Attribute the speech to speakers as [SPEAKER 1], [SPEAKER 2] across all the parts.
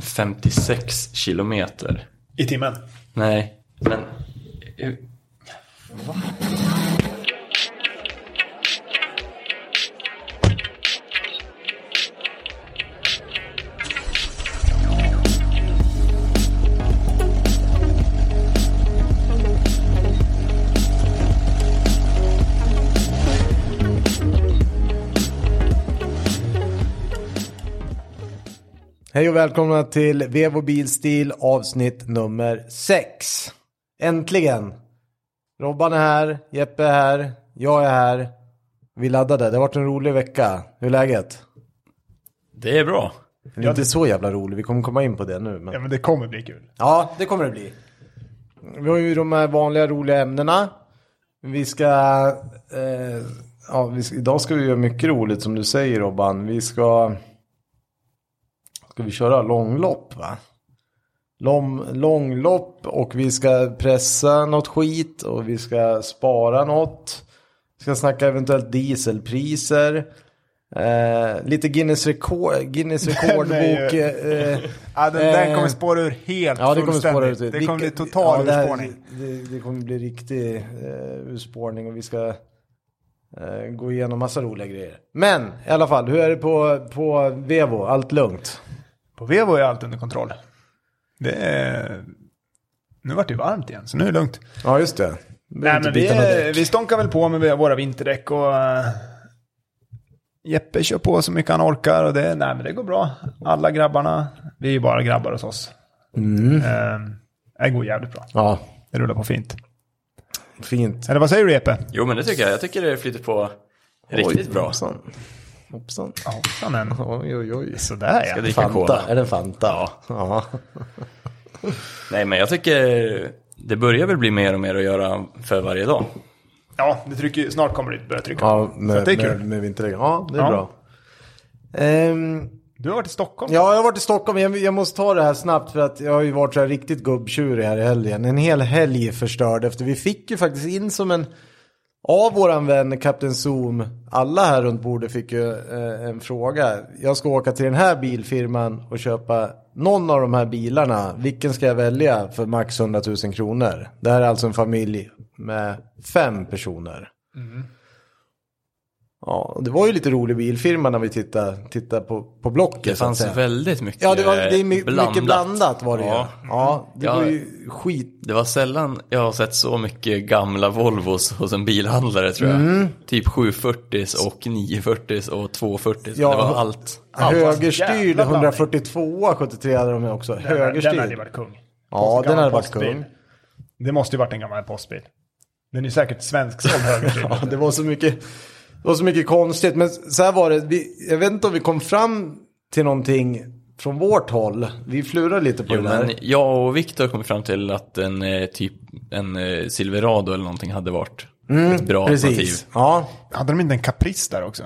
[SPEAKER 1] 2056 kilometer.
[SPEAKER 2] I timmen.
[SPEAKER 1] Nej, men... eh, Va?
[SPEAKER 3] Hej och välkomna till Vevo Bilstil avsnitt nummer 6. Äntligen! Robban är här, Jeppe är här, jag är här. Vi laddade, det har varit en rolig vecka. Hur är läget?
[SPEAKER 1] Det är bra.
[SPEAKER 3] Det är inte så jävla rolig, vi kommer komma in på det nu. Men...
[SPEAKER 2] Ja, men det kommer bli kul.
[SPEAKER 3] Ja, det kommer det bli. Vi har ju de här vanliga roliga ämnena. Vi ska... Eh, ja, vi ska idag ska vi göra mycket roligt som du säger Robban. Vi ska... Ska vi köra långlopp va? Lång, långlopp och vi ska pressa något skit och vi ska spara något. Vi ska snacka eventuellt dieselpriser. Eh, lite Guinness, rekord, Guinness rekordbok.
[SPEAKER 2] är ju-
[SPEAKER 3] eh,
[SPEAKER 4] Ja, den, den
[SPEAKER 3] eh,
[SPEAKER 4] kommer spåra ur helt
[SPEAKER 3] Ja, det kommer spåra ut.
[SPEAKER 4] fullständigt. Det kommer bli
[SPEAKER 3] Vilka-
[SPEAKER 4] total
[SPEAKER 3] det här-
[SPEAKER 4] urspårning.
[SPEAKER 3] Det, det kommer bli riktig eh, urspårning och vi ska eh, gå igenom massa roliga grejer. Men i alla fall, hur är det på, på Vevo? Allt lugnt?
[SPEAKER 2] På Vevo är allt under kontroll. Det är... Nu vart det varmt igen, så nu är det lugnt.
[SPEAKER 3] Ja, just det.
[SPEAKER 2] Nej, men vi, är, vi stånkar väl på med våra vinterdäck och... eh, Jeppe kör på så mycket han orkar och det, nej, men det går bra. Alla grabbarna, vi är ju bara grabbar hos oss.
[SPEAKER 3] Mm.
[SPEAKER 2] Eh, det går jävligt bra.
[SPEAKER 3] Ja,
[SPEAKER 2] Det rullar på fint.
[SPEAKER 3] fint.
[SPEAKER 2] Eller vad säger du Jeppe?
[SPEAKER 1] Jo, men det tycker jag. Jag tycker det flyter på riktigt
[SPEAKER 3] Oj,
[SPEAKER 1] bra.
[SPEAKER 3] Hoppsan. Hoppsan.
[SPEAKER 2] Hoppsan en.
[SPEAKER 3] Oj, oj, oj.
[SPEAKER 2] Sådär
[SPEAKER 1] Ska
[SPEAKER 2] ja.
[SPEAKER 1] dricka
[SPEAKER 3] Fanta,
[SPEAKER 1] cola.
[SPEAKER 3] är det en Fanta? Ja. ja.
[SPEAKER 1] Nej, men jag tycker det börjar väl bli mer och mer att göra för varje dag.
[SPEAKER 2] Ja, det trycker, ju- snart kommer det börja trycka. så
[SPEAKER 3] med,
[SPEAKER 2] att det är kul.
[SPEAKER 3] med, med vinterdäck. Ja, det är
[SPEAKER 2] Ja.
[SPEAKER 3] bra. Ehm,
[SPEAKER 2] Du har varit i Stockholm.
[SPEAKER 3] Ja, jag har varit i Stockholm. Jag, jag måste ta det här snabbt för att jag har ju varit så här riktigt gubbtjurig här i helgen. En hel helg förstörd efter vi fick ju faktiskt in som en av våran vän Kapten Zoom. Alla här runt bordet fick ju eh, en fråga. Jag ska åka till den här bilfirman och köpa någon av de här bilarna. Vilken ska jag välja för max 100 000 kronor? Det här är alltså en familj med fem personer.
[SPEAKER 1] Mm.
[SPEAKER 3] Ja, och det var ju lite rolig bilfirma när vi tittade, tittade på, på Blocket.
[SPEAKER 1] Det
[SPEAKER 3] så att
[SPEAKER 1] fanns
[SPEAKER 3] säga.
[SPEAKER 1] väldigt mycket
[SPEAKER 3] Ja, det var det är my-
[SPEAKER 1] blandat.
[SPEAKER 3] mycket blandat var det
[SPEAKER 1] Ja.
[SPEAKER 3] ju. Ja, det
[SPEAKER 1] Ja.
[SPEAKER 3] var ju skit.
[SPEAKER 1] Det var sällan jag har sett så mycket gamla Volvos hos en bilhandlare tror jag.
[SPEAKER 3] Mm.
[SPEAKER 1] Typ 740 och 940 och 240
[SPEAKER 3] Ja,
[SPEAKER 1] Det var allt.
[SPEAKER 3] högerstyrd
[SPEAKER 2] jävla blandning.
[SPEAKER 3] 142 73 hade de också.
[SPEAKER 2] Den, här- den hade ju
[SPEAKER 3] högerstyrd.
[SPEAKER 2] varit kung.
[SPEAKER 3] Ja, den
[SPEAKER 2] Gammal
[SPEAKER 3] hade varit
[SPEAKER 2] postbil.
[SPEAKER 3] kung.
[SPEAKER 2] Det måste ju varit en gammal postbil. Den är ju säkert svensk som högerstyrd.
[SPEAKER 3] Ja, det var så mycket. Det var så mycket konstigt. Men så här var det. Vi, jag vet inte om vi kom fram till någonting från vårt håll. Vi flurade lite på
[SPEAKER 1] Jo,
[SPEAKER 3] det där.
[SPEAKER 1] men jag och Viktor kom fram till att en eh, typ en eh, Silverado eller någonting hade varit ett bra
[SPEAKER 3] Mm, Precis.
[SPEAKER 1] alternativ.
[SPEAKER 3] Ja.
[SPEAKER 2] Hade de inte en Caprice där också?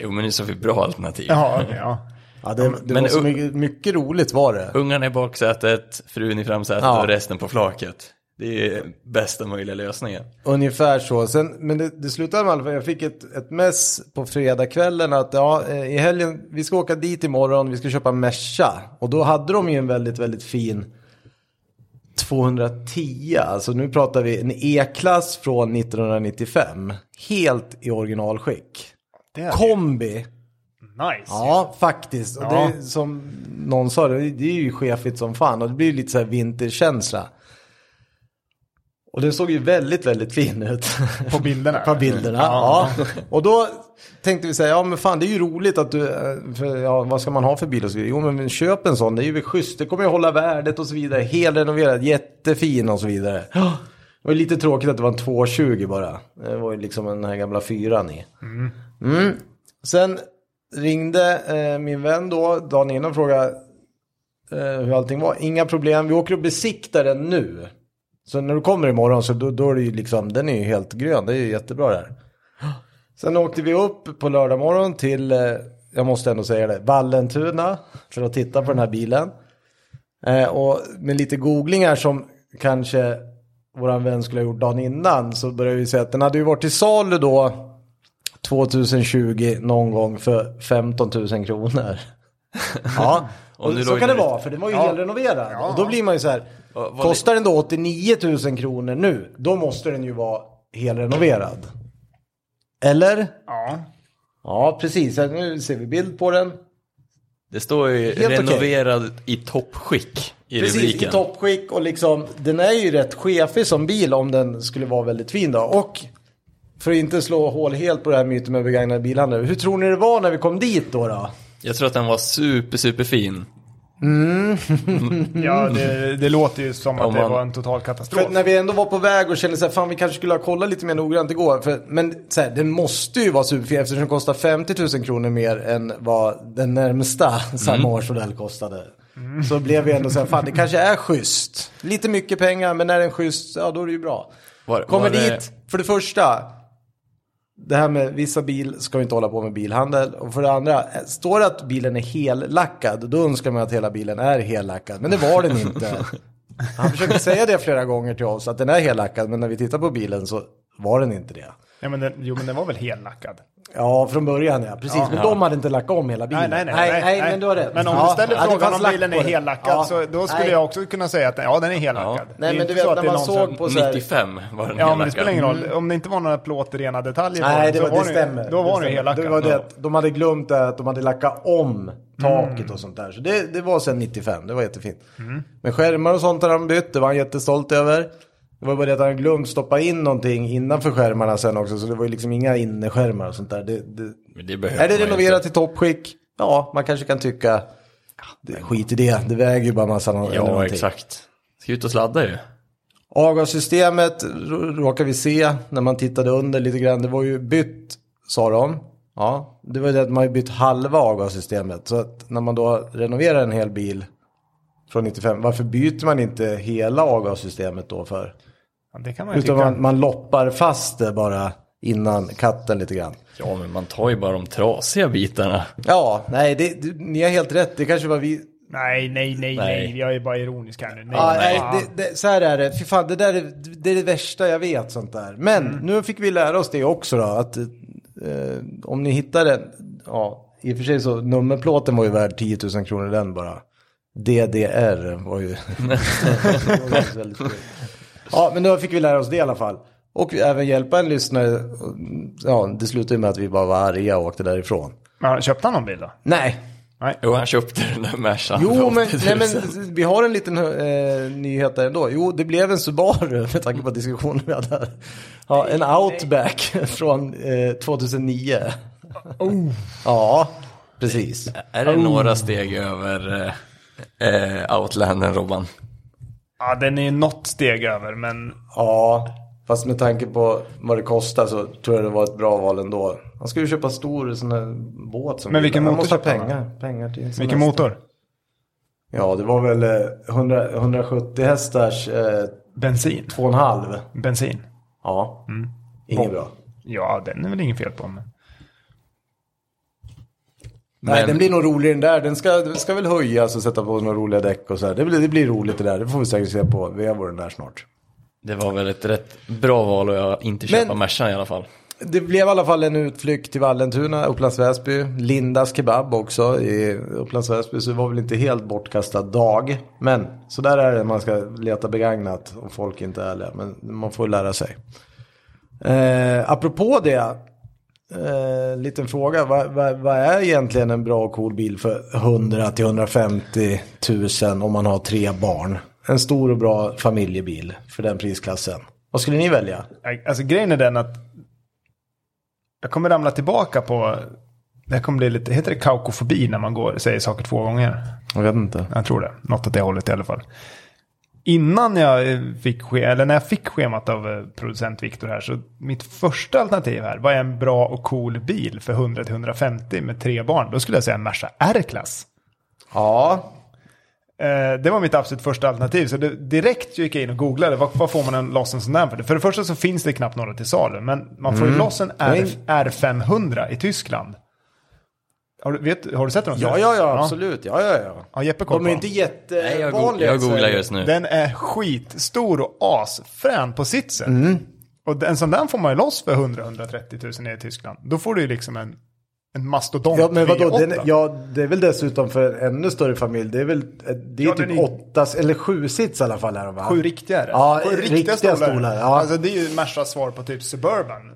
[SPEAKER 1] Jo, men nu så fick vi bra alternativ.
[SPEAKER 2] Jaha, okej. ja.
[SPEAKER 3] ja, det, det
[SPEAKER 1] Men-
[SPEAKER 3] var så mycket, mycket roligt var det.
[SPEAKER 1] Ungarna i baksätet, frun i framsätet
[SPEAKER 3] Ja.
[SPEAKER 1] och resten på flaket. Det är bästa möjliga lösningen.
[SPEAKER 3] Ungefär så. Sen, men det, det slutade med i alla fall, jag fick ett, ett mess på fredagskvällen att ja, eh, i helgen, vi ska åka dit imorgon, vi ska köpa Merca. Och då hade de ju en väldigt, väldigt fin 210, alltså nu pratar vi en E-klass från 1995. Helt i originalskick.
[SPEAKER 2] Det är
[SPEAKER 3] Kombi.
[SPEAKER 2] Nice.
[SPEAKER 3] Ja, faktiskt. Och det
[SPEAKER 2] Ja.
[SPEAKER 3] är som någon sa, det det är ju chefigt som fan och det blir lite så här vinterkänsla. Och den såg ju väldigt, väldigt fin ut.
[SPEAKER 2] På bilderna.
[SPEAKER 3] På bilderna, ja. Och då tänkte vi säga, ja men fan det är ju roligt att du, eh, för, ja, vad ska man ha för bil och så vidare? Jo men köp en sån, det är ju väl schysst, det kommer ju hålla värdet och så vidare. Helrenoverad, jättefin och så vidare. Det var ju lite tråkigt att det var en 220 bara. Det var ju liksom den här gamla fyran i. Mm. Sen ringde eh, min vän då dagen innan och frågade eh, hur allting var. Inga problem, vi åker och besiktar den nu. Så när du kommer imorgon så då, då är det ju liksom, den är ju helt grön, det är ju jättebra där. Sen åkte vi upp på lördag morgon till, eh, jag måste ändå säga det, Vallentuna för att titta på den här bilen. Eh, och med lite googlingar som kanske våran vän skulle ha gjort dagen innan så började vi se att den hade ju varit till salu då 2020 någon gång för 15 000 kronor. Ja, och
[SPEAKER 1] nu
[SPEAKER 3] så
[SPEAKER 1] låg
[SPEAKER 3] kan det
[SPEAKER 1] den ut.
[SPEAKER 3] vara, för den var ju
[SPEAKER 2] Ja.
[SPEAKER 3] helrenoverad.
[SPEAKER 2] Ja.
[SPEAKER 3] Och då blir man ju så här,
[SPEAKER 1] Ja, vad-
[SPEAKER 3] kostar den då 89 000 kronor nu, då måste den ju vara helrenoverad. Eller?
[SPEAKER 2] Ja.
[SPEAKER 3] Ja, precis. Här, Nu ser vi bild på den.
[SPEAKER 1] Det står ju
[SPEAKER 3] Helt okej.
[SPEAKER 1] renoverad i toppskick i
[SPEAKER 3] Precis,
[SPEAKER 1] rubriken.
[SPEAKER 3] i toppskick och liksom, den är ju rätt skefig som bil om den skulle vara väldigt fin då. Och för att inte slå hål helt på det här myten med begagnade bilhandlare, hur tror ni det var när vi kom dit då? då?
[SPEAKER 1] Jag tror att den var super, super fin.
[SPEAKER 2] Ja, det, det låter ju som att
[SPEAKER 1] Om
[SPEAKER 2] det
[SPEAKER 1] man-
[SPEAKER 2] var en total
[SPEAKER 3] För
[SPEAKER 2] katastrof.
[SPEAKER 3] att när vi ändå var på väg och kände så här, fan vi kanske skulle ha kollat lite mer noggrant igår. För, men så här, den måste ju vara superfin eftersom den kostar 50 000 kronor mer än vad den närmsta samma årsmodell kostade. Så blev vi ändå så här, fan det kanske är schysst. Lite mycket pengar men när den är schysst, ja då är det ju bra.
[SPEAKER 1] Var- var
[SPEAKER 3] Kommer
[SPEAKER 1] det-
[SPEAKER 3] dit, för det första, det här med vissa bil ska ju inte hålla på med bilhandel. Och för det andra, står det att bilen är hellackad, då önskar man att hela bilen är hellackad. Men det var den inte. Han försökte säga det flera gånger till oss, att den är hellackad, men när vi tittar på bilen så var den inte det.
[SPEAKER 2] Ja, men den, jo, men den var väl
[SPEAKER 3] Mm.
[SPEAKER 2] hellackad?
[SPEAKER 3] Ja, från början ja, precis. men de hade inte lackat om hela bilen.
[SPEAKER 2] Nej, nej, nej.
[SPEAKER 3] nej, men du har rätt.
[SPEAKER 2] Men om
[SPEAKER 3] Ja,
[SPEAKER 2] du ställer
[SPEAKER 3] ja, det
[SPEAKER 2] frågan
[SPEAKER 3] fanns
[SPEAKER 2] om
[SPEAKER 3] lack
[SPEAKER 2] bilen
[SPEAKER 3] på
[SPEAKER 2] är
[SPEAKER 3] den.
[SPEAKER 2] hellackad,
[SPEAKER 3] Ja,
[SPEAKER 2] så då skulle
[SPEAKER 3] nej.
[SPEAKER 2] jag också kunna säga att ja, den är hellackad.
[SPEAKER 1] Ja.
[SPEAKER 2] Det är
[SPEAKER 3] men
[SPEAKER 2] inte
[SPEAKER 3] du vet,
[SPEAKER 2] så att
[SPEAKER 3] när
[SPEAKER 2] det är
[SPEAKER 3] man
[SPEAKER 2] någon
[SPEAKER 3] såg
[SPEAKER 2] som-
[SPEAKER 3] på- Och så här-
[SPEAKER 1] 95 var den
[SPEAKER 2] Ja, men det
[SPEAKER 1] hellackad.
[SPEAKER 2] spelar ingen roll. Om det inte var några plåtrena detaljer på
[SPEAKER 3] Mm. Nej,
[SPEAKER 2] den,
[SPEAKER 3] det,
[SPEAKER 2] så
[SPEAKER 3] var, det
[SPEAKER 2] den-
[SPEAKER 3] stämmer.
[SPEAKER 2] Då var den
[SPEAKER 3] det
[SPEAKER 2] ju
[SPEAKER 3] stämmer.
[SPEAKER 2] hellackad.
[SPEAKER 3] Det var det att de hade glömt det, att de hade lackat om taket
[SPEAKER 2] Mm.
[SPEAKER 3] och sånt där. Så det, det var sedan 95, det var jättefint. Men skärmar och sånt hade han bytt, det var han jättestolt över. Det var bara det att han hade glömt stoppa in någonting innanför skärmarna sen också. Så det var ju liksom inga inneskärmar och sånt där. Det, det...
[SPEAKER 1] Men det behöver
[SPEAKER 3] Är det
[SPEAKER 1] man ju
[SPEAKER 3] renoverat
[SPEAKER 1] inte.
[SPEAKER 3] till toppskick? Ja, man kanske kan tycka, ja, det, skit i det, det väger ju bara massa eller
[SPEAKER 1] Ja,
[SPEAKER 3] någonting.
[SPEAKER 1] exakt. Ska ut och sladda ju.
[SPEAKER 3] Avgassystemet r- råkar vi se när man tittade under lite grann. Det var ju bytt, sa de. Ja, det var ju det att man har ju bytt halva avgassystemet. Så att när man då renoverar en hel bil från 95, varför byter man inte hela avgassystemet då för?
[SPEAKER 2] Ja, det kan man ju
[SPEAKER 3] Utan
[SPEAKER 2] tycka.
[SPEAKER 3] man, man loppar fast det bara innan katten lite grann.
[SPEAKER 1] Ja, men man tar ju bara de trasiga bitarna.
[SPEAKER 3] Ja, nej, det, det, ni har helt rätt. Det kanske var vi
[SPEAKER 2] Nej, nej, nej,
[SPEAKER 1] Nej.
[SPEAKER 2] nej. Jag är bara ironisk här nu. Nej,
[SPEAKER 3] Ja, nej,
[SPEAKER 2] nej.
[SPEAKER 3] det, det, så här är det. Fy fan, det där är det, är det värsta jag vet, sånt där. Men nu fick vi lära oss det också då, att eh, om ni hittar den, ja, i och för sig så nummerplåten var ju värd 10 000 kronor den bara. DDR var ju... det var väldigt kul. ja, men nu fick vi lära oss det i alla fall. Och vi även hjälpa en lyssnare. Ja, det slutade ju med att vi bara var arga och åkte därifrån.
[SPEAKER 2] Men har- köpte han någon bil då?
[SPEAKER 3] Nej,
[SPEAKER 1] Jo, han köpte den där Mercan.
[SPEAKER 3] Jo,
[SPEAKER 1] för
[SPEAKER 3] men,
[SPEAKER 1] 80 000.
[SPEAKER 3] nej, men vi har en liten eh, nyhet där ändå. Jo, det blev en Subaru med tanke på diskussionen vi hade. här. Ja, en Outback från eh, 2009.
[SPEAKER 2] Oh.
[SPEAKER 3] Ja, precis.
[SPEAKER 1] Är det några steg över eh, eh, Outlander, Robban?
[SPEAKER 2] Ja, den är något steg över, men
[SPEAKER 3] Ja, fast med tanke på vad det kostar så tror jag det var ett bra val ändå. Han skulle ju köpa stor sån här båt. Som
[SPEAKER 2] Men vilken
[SPEAKER 3] Han
[SPEAKER 2] motor
[SPEAKER 3] måste ha
[SPEAKER 2] köpte han,
[SPEAKER 3] pengar, pengar till sin
[SPEAKER 2] vilken
[SPEAKER 3] nästa.
[SPEAKER 2] motor?
[SPEAKER 3] Ja, det var väl eh, 100, 170 hästars eh,
[SPEAKER 2] Bensin.
[SPEAKER 3] 2,5.
[SPEAKER 2] Bensin.
[SPEAKER 3] Ja,
[SPEAKER 2] Mm.
[SPEAKER 3] inget bra.
[SPEAKER 2] Ja, den är väl inget fel på. Men...
[SPEAKER 3] Nej,
[SPEAKER 1] Men-
[SPEAKER 3] den blir nog rolig den där. Den ska, den ska väl höjas och sätta på några roliga däck och så här. Det blir, det blir roligt det där. Det får vi säkert se på Vevo den där snart.
[SPEAKER 1] Det var väl ett rätt bra val att jag inte köpa
[SPEAKER 3] Men-
[SPEAKER 1] Mercan i alla fall.
[SPEAKER 3] Det blev i alla fall en utflykt till Vallentuna, Upplands Väsby, Lindas kebab också i Upplands Väsby. Så det var väl inte helt bortkastad dag. Men så där är det när man ska leta begagnat och folk inte är ärliga. Men man får lära sig. Eh, apropå det, eh, liten fråga. Vad vad- vad är egentligen en bra och cool bil för 100 till 150 000 om man har tre barn? En stor och bra familjebil för den prisklassen. Vad skulle ni välja?
[SPEAKER 2] Alltså grejen är den att jag kommer ramla tillbaka på, det här kommer bli lite, heter det kaukofobi när man går, säger saker två gånger?
[SPEAKER 3] Jag vet inte.
[SPEAKER 2] Jag tror det. Något åt det hållet i alla fall. Innan jag eh, fick, ske- eller när jag fick schemat av eh, producent Viktor här, så mitt första alternativ här, vad är en bra och cool bil för 100-150 med tre barn? Då skulle jag säga en Merca R-klass.
[SPEAKER 3] Ja,
[SPEAKER 2] Eh, det var mitt absolut första alternativ, så det, direkt gick jag in och googlade, vad, vad får man en, loss en sån där för? För det första så finns det knappt några till salu, men man får ju
[SPEAKER 3] Mm.
[SPEAKER 2] loss en R, R500 i Tyskland. Har du, vet, har du sett dem?
[SPEAKER 3] Ja, ja, ja, absolut. Ja, ja, ja.
[SPEAKER 2] Ja, Jeppe koll
[SPEAKER 3] De
[SPEAKER 2] på
[SPEAKER 3] är
[SPEAKER 2] dem.
[SPEAKER 3] inte
[SPEAKER 1] Nej, jag, go-
[SPEAKER 3] jättevanliga.
[SPEAKER 1] jag googlar
[SPEAKER 3] så-
[SPEAKER 1] just nu.
[SPEAKER 2] Den är skitstor och asfrän på sitt sätt.
[SPEAKER 3] Mm.
[SPEAKER 2] Och en sån där får man ju loss för 100-130 000 i Tyskland. Då får du ju liksom en, en mastodont
[SPEAKER 3] Ja, men vadå,
[SPEAKER 2] 3.8.
[SPEAKER 3] den, ja, det är väl dessutom för en ännu större familj. Det är väl det är
[SPEAKER 2] Ja,
[SPEAKER 3] typ
[SPEAKER 2] den är-
[SPEAKER 3] åtta eller sju sits i alla fall. Här, va?
[SPEAKER 2] Sju riktiga är det.
[SPEAKER 3] Ja,
[SPEAKER 2] Sju
[SPEAKER 3] riktiga stolar, ja.
[SPEAKER 2] Alltså det är ju Mersas svar på typ Suburban.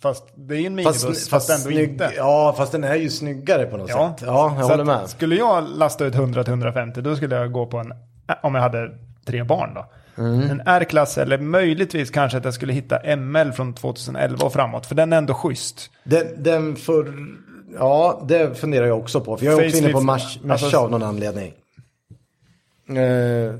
[SPEAKER 2] Fast det är ju en minibuss, fast, ändå
[SPEAKER 3] snygg-
[SPEAKER 2] inte.
[SPEAKER 3] Ja, fast den är ju snyggare på något
[SPEAKER 2] Ja.
[SPEAKER 3] sätt. Ja, jag
[SPEAKER 2] Så
[SPEAKER 3] håller
[SPEAKER 2] att
[SPEAKER 3] med.
[SPEAKER 2] Skulle jag lasta ut 100-150 då skulle jag gå på en, ä, om jag hade tre barn då.
[SPEAKER 3] Mm.
[SPEAKER 2] En R-klass eller möjligtvis kanske att jag skulle hitta ML från 2011 och framåt. För den är ändå schysst.
[SPEAKER 3] Den, den för... Ja, det funderar jag också på. För jag är också inne på
[SPEAKER 2] Facelift-
[SPEAKER 3] mars, mars
[SPEAKER 2] alltså-
[SPEAKER 3] av någon anledning. Eh,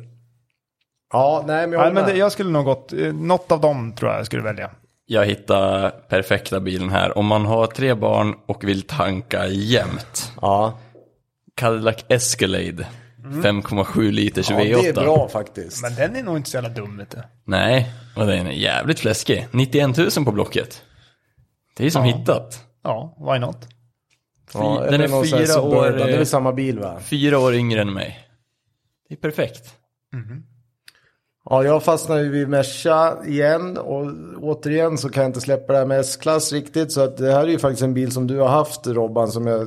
[SPEAKER 3] ja, nej men jag
[SPEAKER 2] Nej,
[SPEAKER 3] håller
[SPEAKER 2] men det,
[SPEAKER 3] med.
[SPEAKER 2] jag skulle nog gått, eh, något av dem tror jag jag skulle välja.
[SPEAKER 1] Jag hittar perfekta bilen här. Om man har tre barn och vill tanka jämt.
[SPEAKER 3] Ja,
[SPEAKER 1] Cadillac Escalade. 5,7 liters
[SPEAKER 3] Mm. ja,
[SPEAKER 1] V8.
[SPEAKER 3] det är bra faktiskt.
[SPEAKER 2] Men den är nog inte så jävla dum vet du.
[SPEAKER 1] Nej, och den är jävligt fläskig. 91 000 på Blocket. Det är som hittat.
[SPEAKER 2] Ja, why not?
[SPEAKER 3] ja,
[SPEAKER 1] Fy-
[SPEAKER 3] jag
[SPEAKER 1] den
[SPEAKER 3] tror
[SPEAKER 1] är
[SPEAKER 3] någon sån här
[SPEAKER 1] fyra år,
[SPEAKER 3] Suburban, Det är
[SPEAKER 1] eh,
[SPEAKER 3] väl samma bil va?
[SPEAKER 1] Fyra år yngre än mig. Det är perfekt.
[SPEAKER 3] Ja, jag fastnar ju vid Merca igen och återigen så kan jag inte släppa det här med S-klass riktigt. Så att det här är ju faktiskt en bil som du har haft Robban som jag är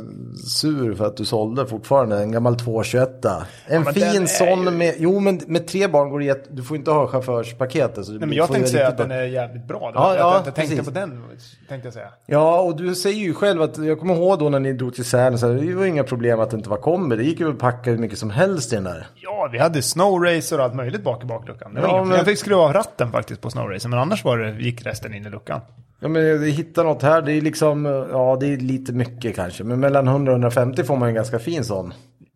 [SPEAKER 3] sur för att du sålde fortfarande. En gammal 221. En
[SPEAKER 2] men den är
[SPEAKER 3] fin sån
[SPEAKER 2] ju-
[SPEAKER 3] med, jo men med tre barn går det jätte- du får inte ha chaufförspaketet. Så
[SPEAKER 2] Nej,
[SPEAKER 3] du
[SPEAKER 2] men
[SPEAKER 3] blir-
[SPEAKER 2] jag
[SPEAKER 3] får ju
[SPEAKER 2] tänkte säga att
[SPEAKER 3] riktigt
[SPEAKER 2] den är jävligt bra.
[SPEAKER 3] Ja,
[SPEAKER 2] att
[SPEAKER 3] ja,
[SPEAKER 2] jag inte tänkte
[SPEAKER 3] precis.
[SPEAKER 2] på den, tänkte jag säga.
[SPEAKER 3] Ja, och du säger ju själv att jag kommer ihåg då när ni drog till Sälen så här, det var inga problem att det inte var kombi. Det gick ju att packa hur mycket som helst i den där.
[SPEAKER 2] Ja, vi hade snowracer och allt möjligt bak i bakluckan. Det var
[SPEAKER 3] Ja,
[SPEAKER 2] inget
[SPEAKER 3] men-
[SPEAKER 2] Jag fick skruva av ratten faktiskt på snowracer, men annars var det, gick resten in i luckan.
[SPEAKER 3] Ja men jag hittar något här, det är liksom, ja det är lite mycket kanske. Men mellan 100 och 150 får man en ganska fin sån.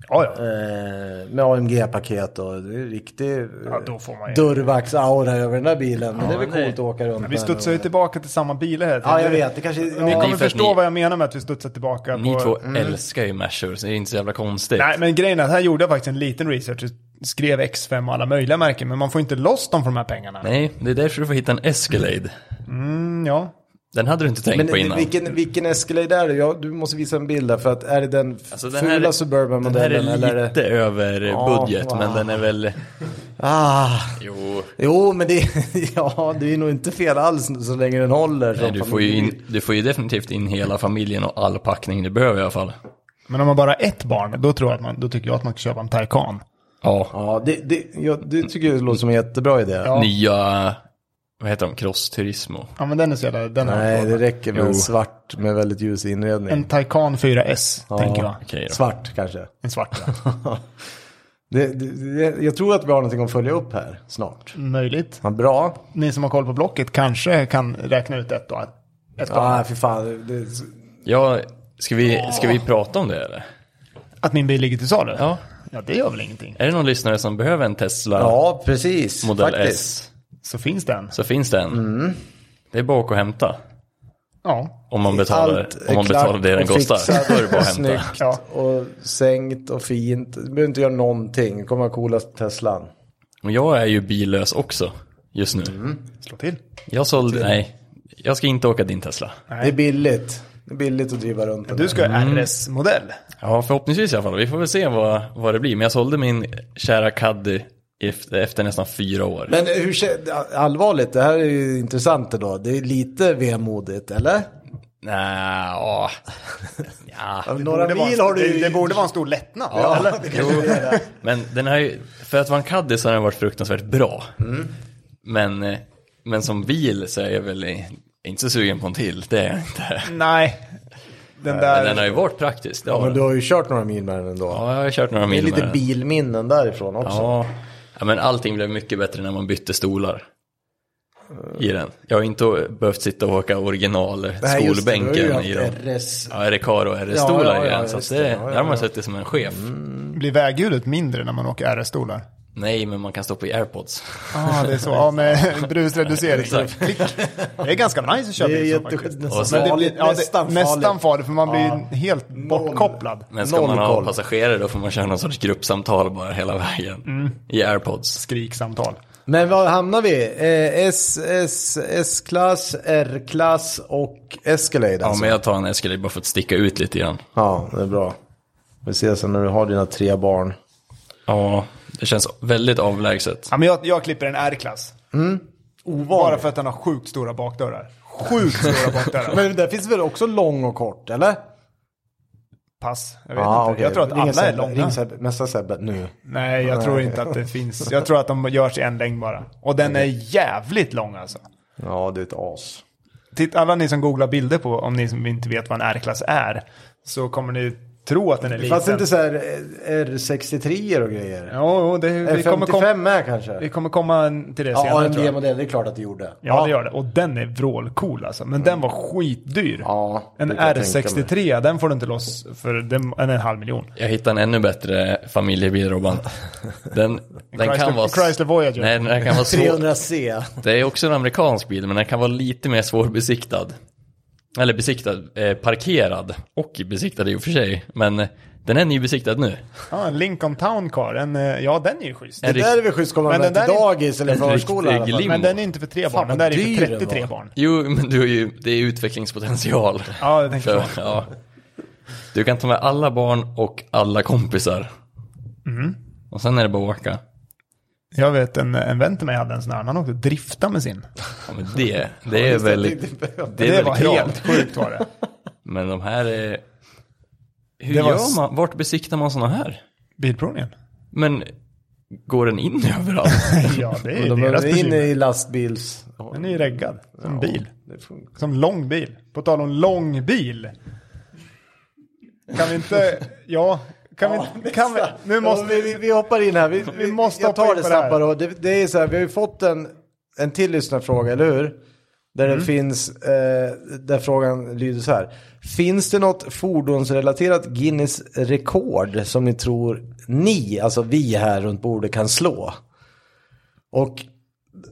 [SPEAKER 2] Ja, ja.
[SPEAKER 3] Eh, med AMG-paket och det är riktig eh,
[SPEAKER 2] ja då får man ju.
[SPEAKER 3] dörrvax-aura över den där bilen. Men det är väl coolt att åka runt
[SPEAKER 2] Vi
[SPEAKER 3] med
[SPEAKER 2] studsar ju
[SPEAKER 3] den.
[SPEAKER 2] tillbaka till samma bilar hela tiden.
[SPEAKER 3] Ja jag vet, det kanske...
[SPEAKER 2] Ni
[SPEAKER 3] Ja,
[SPEAKER 1] är
[SPEAKER 2] kommer
[SPEAKER 1] för att
[SPEAKER 2] förstå
[SPEAKER 1] ni-
[SPEAKER 2] vad jag menar med att vi studsar tillbaka
[SPEAKER 1] Ni
[SPEAKER 2] på...
[SPEAKER 1] två
[SPEAKER 3] mm.
[SPEAKER 1] älskar ju Mashers, så det är inte så jävla konstigt.
[SPEAKER 2] Nej, men grejen är att här gjorde jag faktiskt en liten research. Jag skrev X5 och alla möjliga märken, men man får inte loss dem för de här pengarna.
[SPEAKER 1] Nej, det är därför du får hitta en Escalade.
[SPEAKER 2] Mm, ja.
[SPEAKER 1] Den hade du inte tänkt
[SPEAKER 3] men
[SPEAKER 1] på innan.
[SPEAKER 3] vilken, vilken Escalade är det? Ja, du måste visa en bild där för att är det den f-
[SPEAKER 1] Alltså, den här
[SPEAKER 3] fula
[SPEAKER 1] är- Den här
[SPEAKER 3] Suburban-modellen
[SPEAKER 1] är
[SPEAKER 3] eller? är
[SPEAKER 1] lite
[SPEAKER 3] det-
[SPEAKER 1] över
[SPEAKER 3] Ja,
[SPEAKER 1] budget,
[SPEAKER 3] wow.
[SPEAKER 1] men den är väl...
[SPEAKER 3] Ah,
[SPEAKER 1] Jo.
[SPEAKER 3] jo men det, ja, det är nog inte fel alls så länge den håller.
[SPEAKER 1] Nej,
[SPEAKER 3] som
[SPEAKER 1] du, får ju in, du får ju definitivt in hela familjen och all packning du behöver i alla fall.
[SPEAKER 2] Men om man bara har ett barn, då, tror jag att man, då tycker jag att man kan köpa en Taycan.
[SPEAKER 1] Ja.
[SPEAKER 3] Ja, det, det, ja, det tycker jag låter som en jättebra idé.
[SPEAKER 1] Nya, vad heter de, Cross Turismo.
[SPEAKER 2] Ja, men den är så jävla... Den har jag
[SPEAKER 3] Nej,
[SPEAKER 2] inte
[SPEAKER 3] det
[SPEAKER 2] råd med.
[SPEAKER 3] räcker med
[SPEAKER 1] Jo.
[SPEAKER 3] en svart med väldigt ljus inredning.
[SPEAKER 2] En Taycan 4S, tänker jag.
[SPEAKER 1] Okej då.
[SPEAKER 3] Svart kanske.
[SPEAKER 2] En svart, ja.
[SPEAKER 3] Det, det, det, jag tror att vi har någonting att följa upp här snart.
[SPEAKER 2] Möjligt.
[SPEAKER 3] Ja, bra.
[SPEAKER 2] Ni som har koll på Blocket kanske kan räkna ut ett då. Ett då.
[SPEAKER 3] Ja, ah, fy fan. Det,
[SPEAKER 1] Ja, ska vi, ska vi prata om det eller?
[SPEAKER 2] Att min bil ligger till salu?
[SPEAKER 1] Ja.
[SPEAKER 2] Ja, det gör väl ingenting.
[SPEAKER 1] Är det någon lyssnare som behöver en Tesla
[SPEAKER 3] ja, precis.
[SPEAKER 1] Model
[SPEAKER 3] faktiskt. Mm.
[SPEAKER 1] S
[SPEAKER 2] Så finns den.
[SPEAKER 1] så finns det en. Det är bara att gå och hämta.
[SPEAKER 2] Ja.
[SPEAKER 1] Om man betalar,
[SPEAKER 3] Allt är
[SPEAKER 1] om man
[SPEAKER 3] klart
[SPEAKER 1] betalar det den
[SPEAKER 3] och
[SPEAKER 1] kostar.
[SPEAKER 3] fixat
[SPEAKER 1] Då är det bara att
[SPEAKER 3] och
[SPEAKER 1] hämta.
[SPEAKER 3] Snyggt
[SPEAKER 2] Ja.
[SPEAKER 3] och sänkt och fint. Du behöver inte göra någonting. Kommer ha coolast Teslan.
[SPEAKER 1] Och jag är ju billös också just nu.
[SPEAKER 3] Mm.
[SPEAKER 2] Slå till.
[SPEAKER 1] Jag sålde, nej. Jag ska inte åka din Tesla.
[SPEAKER 2] Nej.
[SPEAKER 3] Det är billigt. Det är billigt att driva runt den.
[SPEAKER 2] Du ska ha
[SPEAKER 3] Mm.
[SPEAKER 2] RS-modell.
[SPEAKER 1] Ja, förhoppningsvis i alla fall. Vi får väl se vad, vad det blir. Men jag sålde min kära Caddy efter, efter nästan fyra år.
[SPEAKER 3] Men hur, kä- allvarligt, det här är ju intressant ändå. Det är lite vemodigt, eller?
[SPEAKER 1] Nä, åh. ja.
[SPEAKER 3] Några
[SPEAKER 2] Det, var,
[SPEAKER 3] mil har du
[SPEAKER 2] det,
[SPEAKER 3] ju...
[SPEAKER 2] det borde vara en stor lättnad.
[SPEAKER 3] Ja,
[SPEAKER 2] eller?
[SPEAKER 3] det kanske det är det.
[SPEAKER 1] Men den har ju, för att vara en Caddy så har den varit fruktansvärt bra.
[SPEAKER 3] Mm.
[SPEAKER 1] Men, eh, men som bil så är jag väl i- inte så sugen på en till. Det är jag inte.
[SPEAKER 2] Nej. Den
[SPEAKER 1] Men den
[SPEAKER 2] där...
[SPEAKER 1] har ju varit praktisk. Det har
[SPEAKER 3] Ja, men
[SPEAKER 1] den.
[SPEAKER 3] du har ju kört några mil med den ändå.
[SPEAKER 1] Ja, jag har kört några
[SPEAKER 3] det är
[SPEAKER 1] mil med
[SPEAKER 3] lite
[SPEAKER 1] den.
[SPEAKER 3] bilminnen därifrån också.
[SPEAKER 1] Ja. ja, men allting blev mycket bättre när man bytte stolar. I den. Jag har inte behövt sitta och åka original
[SPEAKER 3] Eh. Nej, just det,
[SPEAKER 1] skolbänken
[SPEAKER 3] du har
[SPEAKER 1] i
[SPEAKER 3] ju
[SPEAKER 1] dem.
[SPEAKER 3] haft RS.
[SPEAKER 1] Ja, Recaro RS-stolar
[SPEAKER 3] Ja, ja,
[SPEAKER 1] i
[SPEAKER 3] ja,
[SPEAKER 1] den. Så att
[SPEAKER 3] just
[SPEAKER 1] det,
[SPEAKER 3] det. Ja, ja,
[SPEAKER 1] där har man
[SPEAKER 3] ja. Mm.
[SPEAKER 1] suttit som en chef.
[SPEAKER 2] Blir väghjulet mindre när man åker RS-stolar?
[SPEAKER 1] Nej, men man kan stå på airpods.
[SPEAKER 2] Ja, ah, det är så. Ja, med brusreducering.
[SPEAKER 1] Exakt.
[SPEAKER 2] Klick. Det är ganska nice att köra
[SPEAKER 3] Det är
[SPEAKER 2] bil så
[SPEAKER 3] jätteskönt.
[SPEAKER 2] faktiskt.
[SPEAKER 3] Nästan,
[SPEAKER 1] Och så-
[SPEAKER 2] Men det
[SPEAKER 3] farligt,
[SPEAKER 2] blir, ja, det,
[SPEAKER 3] nästan,
[SPEAKER 2] nästan
[SPEAKER 3] farligt.
[SPEAKER 2] farligt, för man blir ju helt bortkopplad.
[SPEAKER 1] Men ska
[SPEAKER 3] Noll
[SPEAKER 1] man ha
[SPEAKER 3] koll.
[SPEAKER 1] passagerare då får man köra någon sorts gruppsamtal bara hela vägen. I airpods.
[SPEAKER 2] Skriksamtal.
[SPEAKER 3] Men var hamnar vi? Eh, S, S, S-klass, R-klass och Escalade
[SPEAKER 1] Ja,
[SPEAKER 3] alltså.
[SPEAKER 1] men jag tar en Escalade bara för att sticka ut lite grann.
[SPEAKER 3] Ja, det är bra. Vi ses sen när du har dina tre barn.
[SPEAKER 1] Ja, det känns väldigt avlägset.
[SPEAKER 2] Ja, men jag, jag klipper en R-klass.
[SPEAKER 3] Mm.
[SPEAKER 2] Bara för att den har sjukt stora bakdörrar. Sjukt stora bakdörrar.
[SPEAKER 3] Men där finns väl också lång och kort, eller?
[SPEAKER 2] pass. Jag vet
[SPEAKER 3] Ah,
[SPEAKER 2] inte. Jag tror att alla är långa.
[SPEAKER 3] Mesta Sebbe nu.
[SPEAKER 2] Nej, jag tror inte att det finns. Jag tror att de görs i en längd bara. Och den är jävligt lång alltså.
[SPEAKER 3] Ja, du är ett as.
[SPEAKER 2] Titt, alla ni som googlar bilder på, om ni som inte vet vad en R-klass är, så kommer ni tro att den är
[SPEAKER 3] Det
[SPEAKER 2] liten.
[SPEAKER 3] fanns inte så här eh, R63 och grejer?
[SPEAKER 2] Jo, jo, det, vi, kommer
[SPEAKER 3] R55
[SPEAKER 2] kom,
[SPEAKER 3] med kanske?
[SPEAKER 2] vi kommer komma till det senare
[SPEAKER 3] Ja, en
[SPEAKER 2] tror jag.
[SPEAKER 3] D-modell, det är klart att det gjorde.
[SPEAKER 2] Ja, det gör det. Och den är vrålcool alltså. Men den var skitdyr.
[SPEAKER 3] Ja,
[SPEAKER 2] en
[SPEAKER 3] det kan jag tänka
[SPEAKER 2] R63, den får du inte loss för den, den är en halv miljon.
[SPEAKER 1] Jag hittade en ännu bättre familjebil Robban. Den, den
[SPEAKER 2] Chrysler-
[SPEAKER 1] kan vara...
[SPEAKER 2] Chrysler Voyager.
[SPEAKER 1] Nej, den kan vara svår.
[SPEAKER 3] 300C.
[SPEAKER 1] Det är också en amerikansk bil, men den kan vara lite mer svårbesiktad. Eller besiktad, eh, parkerad och besiktad i och för sig. Men eh, den är nybesiktad nu.
[SPEAKER 2] Ja, en Lincoln Town Car. En, eh, ja, den är ju schysst.
[SPEAKER 1] En
[SPEAKER 3] Det där är väl schysst komma
[SPEAKER 2] Men
[SPEAKER 3] med
[SPEAKER 2] den
[SPEAKER 3] till
[SPEAKER 2] där är-
[SPEAKER 3] dagis eller
[SPEAKER 1] en
[SPEAKER 3] förskola i alla
[SPEAKER 1] riktig
[SPEAKER 3] fall.
[SPEAKER 1] lim-
[SPEAKER 2] Men den är inte för tre barn,
[SPEAKER 3] vad
[SPEAKER 2] den där är ju
[SPEAKER 3] dyr
[SPEAKER 2] för
[SPEAKER 3] den
[SPEAKER 2] 33
[SPEAKER 3] var.
[SPEAKER 2] barn.
[SPEAKER 1] Jo, men du är ju, det är ju utvecklingspotential.
[SPEAKER 2] Ja, det tänker
[SPEAKER 1] För,
[SPEAKER 2] jag.
[SPEAKER 1] ja. Du kan ta med alla barn och alla kompisar.
[SPEAKER 2] Mm.
[SPEAKER 1] Och sen är det bara att åka.
[SPEAKER 2] Jag vet en, en vän till mig hade en sån här, han åkte drifta med sin.
[SPEAKER 1] Ja, men det, det är väl, det
[SPEAKER 2] Det,
[SPEAKER 1] är
[SPEAKER 2] var
[SPEAKER 1] väl krav.
[SPEAKER 2] helt sjukt var det.
[SPEAKER 1] Men de här är... Hur
[SPEAKER 2] Det var s-
[SPEAKER 1] gör man? Vart besiktar man sådana här?
[SPEAKER 2] Bilprovningen.
[SPEAKER 1] Men går den in överallt?
[SPEAKER 2] Ja, det är
[SPEAKER 3] Men
[SPEAKER 2] ju
[SPEAKER 3] De
[SPEAKER 2] deras
[SPEAKER 3] är inne
[SPEAKER 2] bekymmer.
[SPEAKER 3] i lastbils...
[SPEAKER 2] Den är ju reggad, som
[SPEAKER 3] Ja,
[SPEAKER 2] bil.
[SPEAKER 3] det funkar.
[SPEAKER 2] Som lång bil. På tal om lång bil. Kan vi inte, ja, kan vi, kan vi, nu måste
[SPEAKER 3] Ja, vi, vi, vi hoppar in här. Vi, vi,
[SPEAKER 2] Vi måste
[SPEAKER 3] jag
[SPEAKER 2] hoppa
[SPEAKER 3] tar
[SPEAKER 2] in
[SPEAKER 3] det
[SPEAKER 2] på det här.
[SPEAKER 3] snabbare. och Det, det är så här, vi har ju fått en, en till lyssnarfråga, eller hur? Där
[SPEAKER 2] Mm.
[SPEAKER 3] det finns, eh, där frågan lyder så här. Finns det något fordonsrelaterat Guinness rekord som ni tror ni, alltså vi här runt bordet kan slå? Och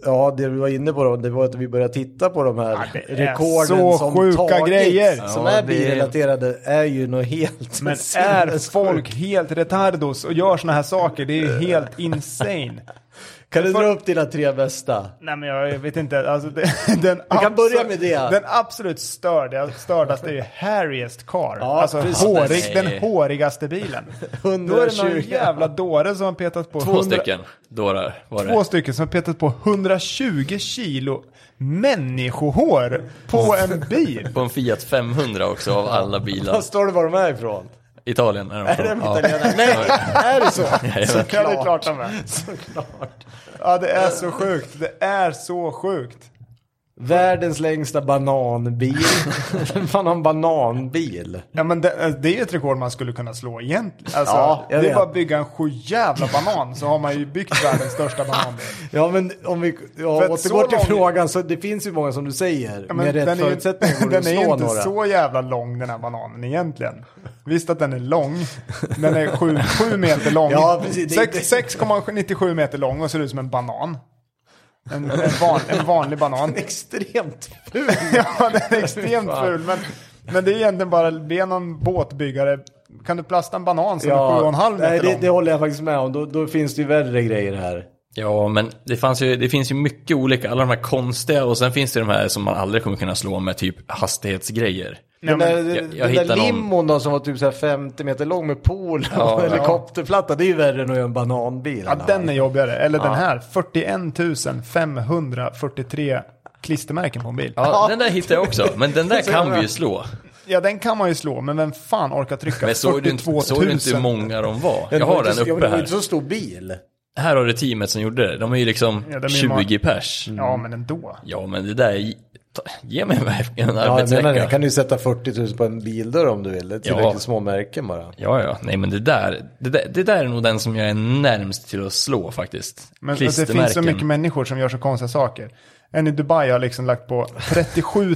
[SPEAKER 3] ja, det vi var inne på då, det var att vi började titta på de här
[SPEAKER 2] Ja, det är
[SPEAKER 3] rekorden
[SPEAKER 2] så
[SPEAKER 3] som
[SPEAKER 2] sjuka
[SPEAKER 3] tagits,
[SPEAKER 2] grejer.
[SPEAKER 3] som
[SPEAKER 1] Ja,
[SPEAKER 3] är
[SPEAKER 1] det-
[SPEAKER 3] bilrelaterade, är ju något helt
[SPEAKER 2] Men är
[SPEAKER 3] sinnessjukt.
[SPEAKER 2] folk helt retardos och gör såna här saker? Det är helt insane.
[SPEAKER 3] Kan du dra upp dina tre bästa?
[SPEAKER 2] Nej men jag vet inte, alltså det, den
[SPEAKER 3] kan
[SPEAKER 2] abso-
[SPEAKER 3] börja med det.
[SPEAKER 2] Den absolut störda, stördaste är ju Harriest Car.
[SPEAKER 3] Ja,
[SPEAKER 2] alltså
[SPEAKER 3] precis.
[SPEAKER 2] hårig,
[SPEAKER 1] Nej.
[SPEAKER 2] den hårigaste bilen. Då är det någon
[SPEAKER 3] 120.
[SPEAKER 2] jävla dåre som har petat på...
[SPEAKER 1] Två
[SPEAKER 2] 100
[SPEAKER 1] stycken dårar var det.
[SPEAKER 2] Två stycken som har petat på 120 kilo människohår på
[SPEAKER 3] Mm.
[SPEAKER 2] en bil.
[SPEAKER 1] På en Fiat 500 också av alla bilar.
[SPEAKER 3] Vad står det var de är ifrån?
[SPEAKER 1] Italien är de
[SPEAKER 3] Är de
[SPEAKER 1] från. Ja.
[SPEAKER 3] italienare? Nej, är det så? Såklart.
[SPEAKER 2] Ja, det är klart de är.
[SPEAKER 3] Såklart.
[SPEAKER 2] Ja, det är så sjukt. Det är så sjukt.
[SPEAKER 3] Världens längsta bananbil. Vem fan har en bananbil?
[SPEAKER 2] Ja, men det, det är ett rekord man skulle kunna slå egentligen. Alltså,
[SPEAKER 3] Ja, jag
[SPEAKER 2] det är
[SPEAKER 3] vet.
[SPEAKER 2] bara att bygga en sjujävla banan så har man ju byggt världens största bananbil.
[SPEAKER 3] Ja men om vi
[SPEAKER 2] För
[SPEAKER 3] ja,
[SPEAKER 2] att så
[SPEAKER 3] återgår till
[SPEAKER 2] lång-
[SPEAKER 3] frågan så det finns ju många som du säger.
[SPEAKER 2] Ja,
[SPEAKER 3] med rätt
[SPEAKER 2] den är ju,
[SPEAKER 3] förutsättningar går det att
[SPEAKER 2] den är ju
[SPEAKER 3] slå
[SPEAKER 2] inte
[SPEAKER 3] några.
[SPEAKER 2] så jävla lång den här bananen egentligen. Visst att den är lång. Den är sju- sju meter lång.
[SPEAKER 3] Ja, precis. Det är
[SPEAKER 2] Sex- 6,97 meter lång och ser ut som en banan. En, en, van, en vanlig banan.
[SPEAKER 3] Extremt ful.
[SPEAKER 2] ja, den är extremt
[SPEAKER 3] Fan.
[SPEAKER 2] ful. Men, men det är egentligen bara, be någon båtbyggare, kan du plasta en banan som är sju och en halv meter
[SPEAKER 3] nej, det,
[SPEAKER 2] lång?
[SPEAKER 3] det håller jag faktiskt med om. Då, då finns det ju värre grejer här.
[SPEAKER 1] ja, men det, fanns ju, det finns ju mycket olika. Alla de här konstiga och sen finns det de här som man aldrig kommer kunna slå med typ hastighetsgrejer.
[SPEAKER 2] Nej,
[SPEAKER 3] Den
[SPEAKER 2] men-
[SPEAKER 3] där,
[SPEAKER 1] jag- jag
[SPEAKER 3] den där
[SPEAKER 1] hittar någon-
[SPEAKER 3] limon då som var typ så här 50 meter lång med pool och
[SPEAKER 1] ja.
[SPEAKER 3] helikopterplatta. Det är ju värre än att göra en bananbil.
[SPEAKER 2] Ja, den är jobbigare. Eller den här, 41 543 klistermärken på en bil.
[SPEAKER 1] Ja, den där hittade jag också. Men den där kan vi ju slå.
[SPEAKER 2] Ja, den kan man ju slå, men vem fan orkar trycka
[SPEAKER 1] Men såg du, inte-
[SPEAKER 2] 42 000?
[SPEAKER 1] såg du inte hur många de var? Jag har den
[SPEAKER 3] Det
[SPEAKER 1] uppe
[SPEAKER 3] var
[SPEAKER 1] här.
[SPEAKER 3] inte så stor bil.
[SPEAKER 1] Här har du teamet som gjorde det. De är ju liksom
[SPEAKER 2] Ja, de är ju
[SPEAKER 1] 20 pers.
[SPEAKER 2] Ja, men ändå.
[SPEAKER 1] Ja, men det där, är ju- ta- ge mig en
[SPEAKER 3] Ja, jag menar det.
[SPEAKER 1] arbetsvecka.
[SPEAKER 3] Kan du sätta 40 000 på en bildörr om du vill. Det är tillräckligt små märken bara.
[SPEAKER 1] Ja, ja, nej men det där, det där, det där är nog den som jag är närmst till att slå faktiskt.
[SPEAKER 2] Men att det finns så mycket människor som gör så konstiga saker. En i Dubai har liksom lagt på 37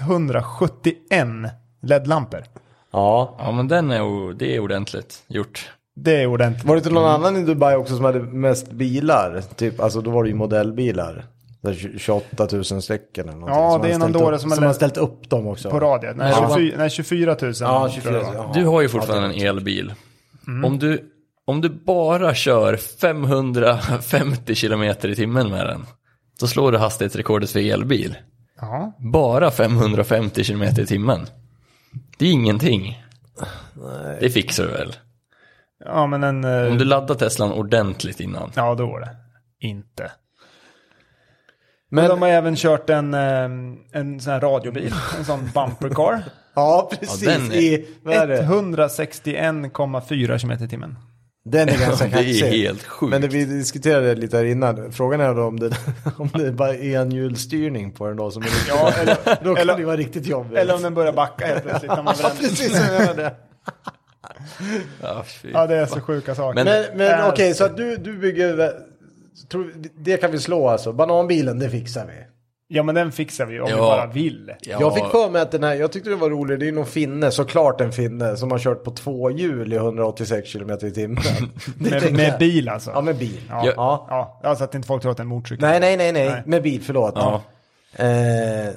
[SPEAKER 2] 671 LED-lampor.
[SPEAKER 3] Ja.
[SPEAKER 1] Ja, men den är, o- det är ordentligt gjort.
[SPEAKER 2] Det är ordentligt.
[SPEAKER 3] Var det inte någon
[SPEAKER 1] Mm.
[SPEAKER 3] annan i Dubai också som hade mest bilar? Typ, alltså då var det ju modellbilar. Där 28 000 stycken eller någonting.
[SPEAKER 2] Ja,
[SPEAKER 3] Som
[SPEAKER 2] det är
[SPEAKER 3] har
[SPEAKER 2] någon
[SPEAKER 3] ställt
[SPEAKER 2] dåre
[SPEAKER 3] upp-
[SPEAKER 2] som har
[SPEAKER 3] som har
[SPEAKER 2] läst-
[SPEAKER 3] ställt upp dem också.
[SPEAKER 2] På radiet. Nej,
[SPEAKER 3] Ja.
[SPEAKER 2] 24, nej, 24 000.
[SPEAKER 3] Ja,
[SPEAKER 2] tror
[SPEAKER 3] 24
[SPEAKER 2] jag
[SPEAKER 3] 000.
[SPEAKER 2] det var.
[SPEAKER 3] Ja.
[SPEAKER 1] Du har ju fortfarande en elbil. Om, du, om du bara kör 550 kilometer i timmen med den, då slår du hastighetsrekordet för elbil.
[SPEAKER 2] Ja.
[SPEAKER 1] Bara 550 kilometer i timmen. Det är ingenting. Det fixar du väl?
[SPEAKER 2] ja, men en... eh,
[SPEAKER 3] Mm.
[SPEAKER 1] Om du laddar Teslan ordentligt innan.
[SPEAKER 2] Ja, då var det. Inte. Men
[SPEAKER 3] Men
[SPEAKER 2] de har även kört en, eh, en sån här radiobil, en sån bumper car.
[SPEAKER 3] Ja, precis.
[SPEAKER 1] Ja, den är-
[SPEAKER 3] I, vad är det?
[SPEAKER 2] 161,4 km i timmen.
[SPEAKER 3] Den är ganska
[SPEAKER 1] Det är
[SPEAKER 3] kaxig.
[SPEAKER 1] helt sjukt.
[SPEAKER 3] Men det, vi diskuterade lite här innan. Frågan är då om det, om det är bara enhjulsstyrning på den då som är riktigt, ja, eller, då kan
[SPEAKER 2] eller-
[SPEAKER 3] det ju vara riktigt jobbigt.
[SPEAKER 2] Eller om den börjar backa helt plötsligt. När man
[SPEAKER 3] ja,
[SPEAKER 2] vänder.
[SPEAKER 3] precis som jag hörde.
[SPEAKER 1] Ja, fy.
[SPEAKER 2] ja, det är så sjuka
[SPEAKER 1] Men-
[SPEAKER 2] saker.
[SPEAKER 3] Men, men
[SPEAKER 2] Äh,
[SPEAKER 3] okej, så att du, du bygger... Tror, det kan vi slå alltså. Bananbilen, det fixar vi.
[SPEAKER 2] ja, men den fixar vi om vi
[SPEAKER 1] Ja.
[SPEAKER 2] bara vill.
[SPEAKER 1] Ja.
[SPEAKER 3] Jag fick för mig att den här, jag tyckte den var rolig, det är ju någon finne, såklart en finne, som har kört på två hjul i 186 km i timmen. Det
[SPEAKER 2] Med,
[SPEAKER 3] tänker
[SPEAKER 2] med
[SPEAKER 3] jag.
[SPEAKER 2] bil alltså.
[SPEAKER 3] Ja, med bil.
[SPEAKER 2] Ja.
[SPEAKER 1] Ja.
[SPEAKER 2] Ja. Ja. Alltså att inte folk tror att det är en motorcykel.
[SPEAKER 3] Nej, nej, nej, nej,
[SPEAKER 2] Nej.
[SPEAKER 3] med bil, förlåt.
[SPEAKER 1] Ja.
[SPEAKER 3] Eh,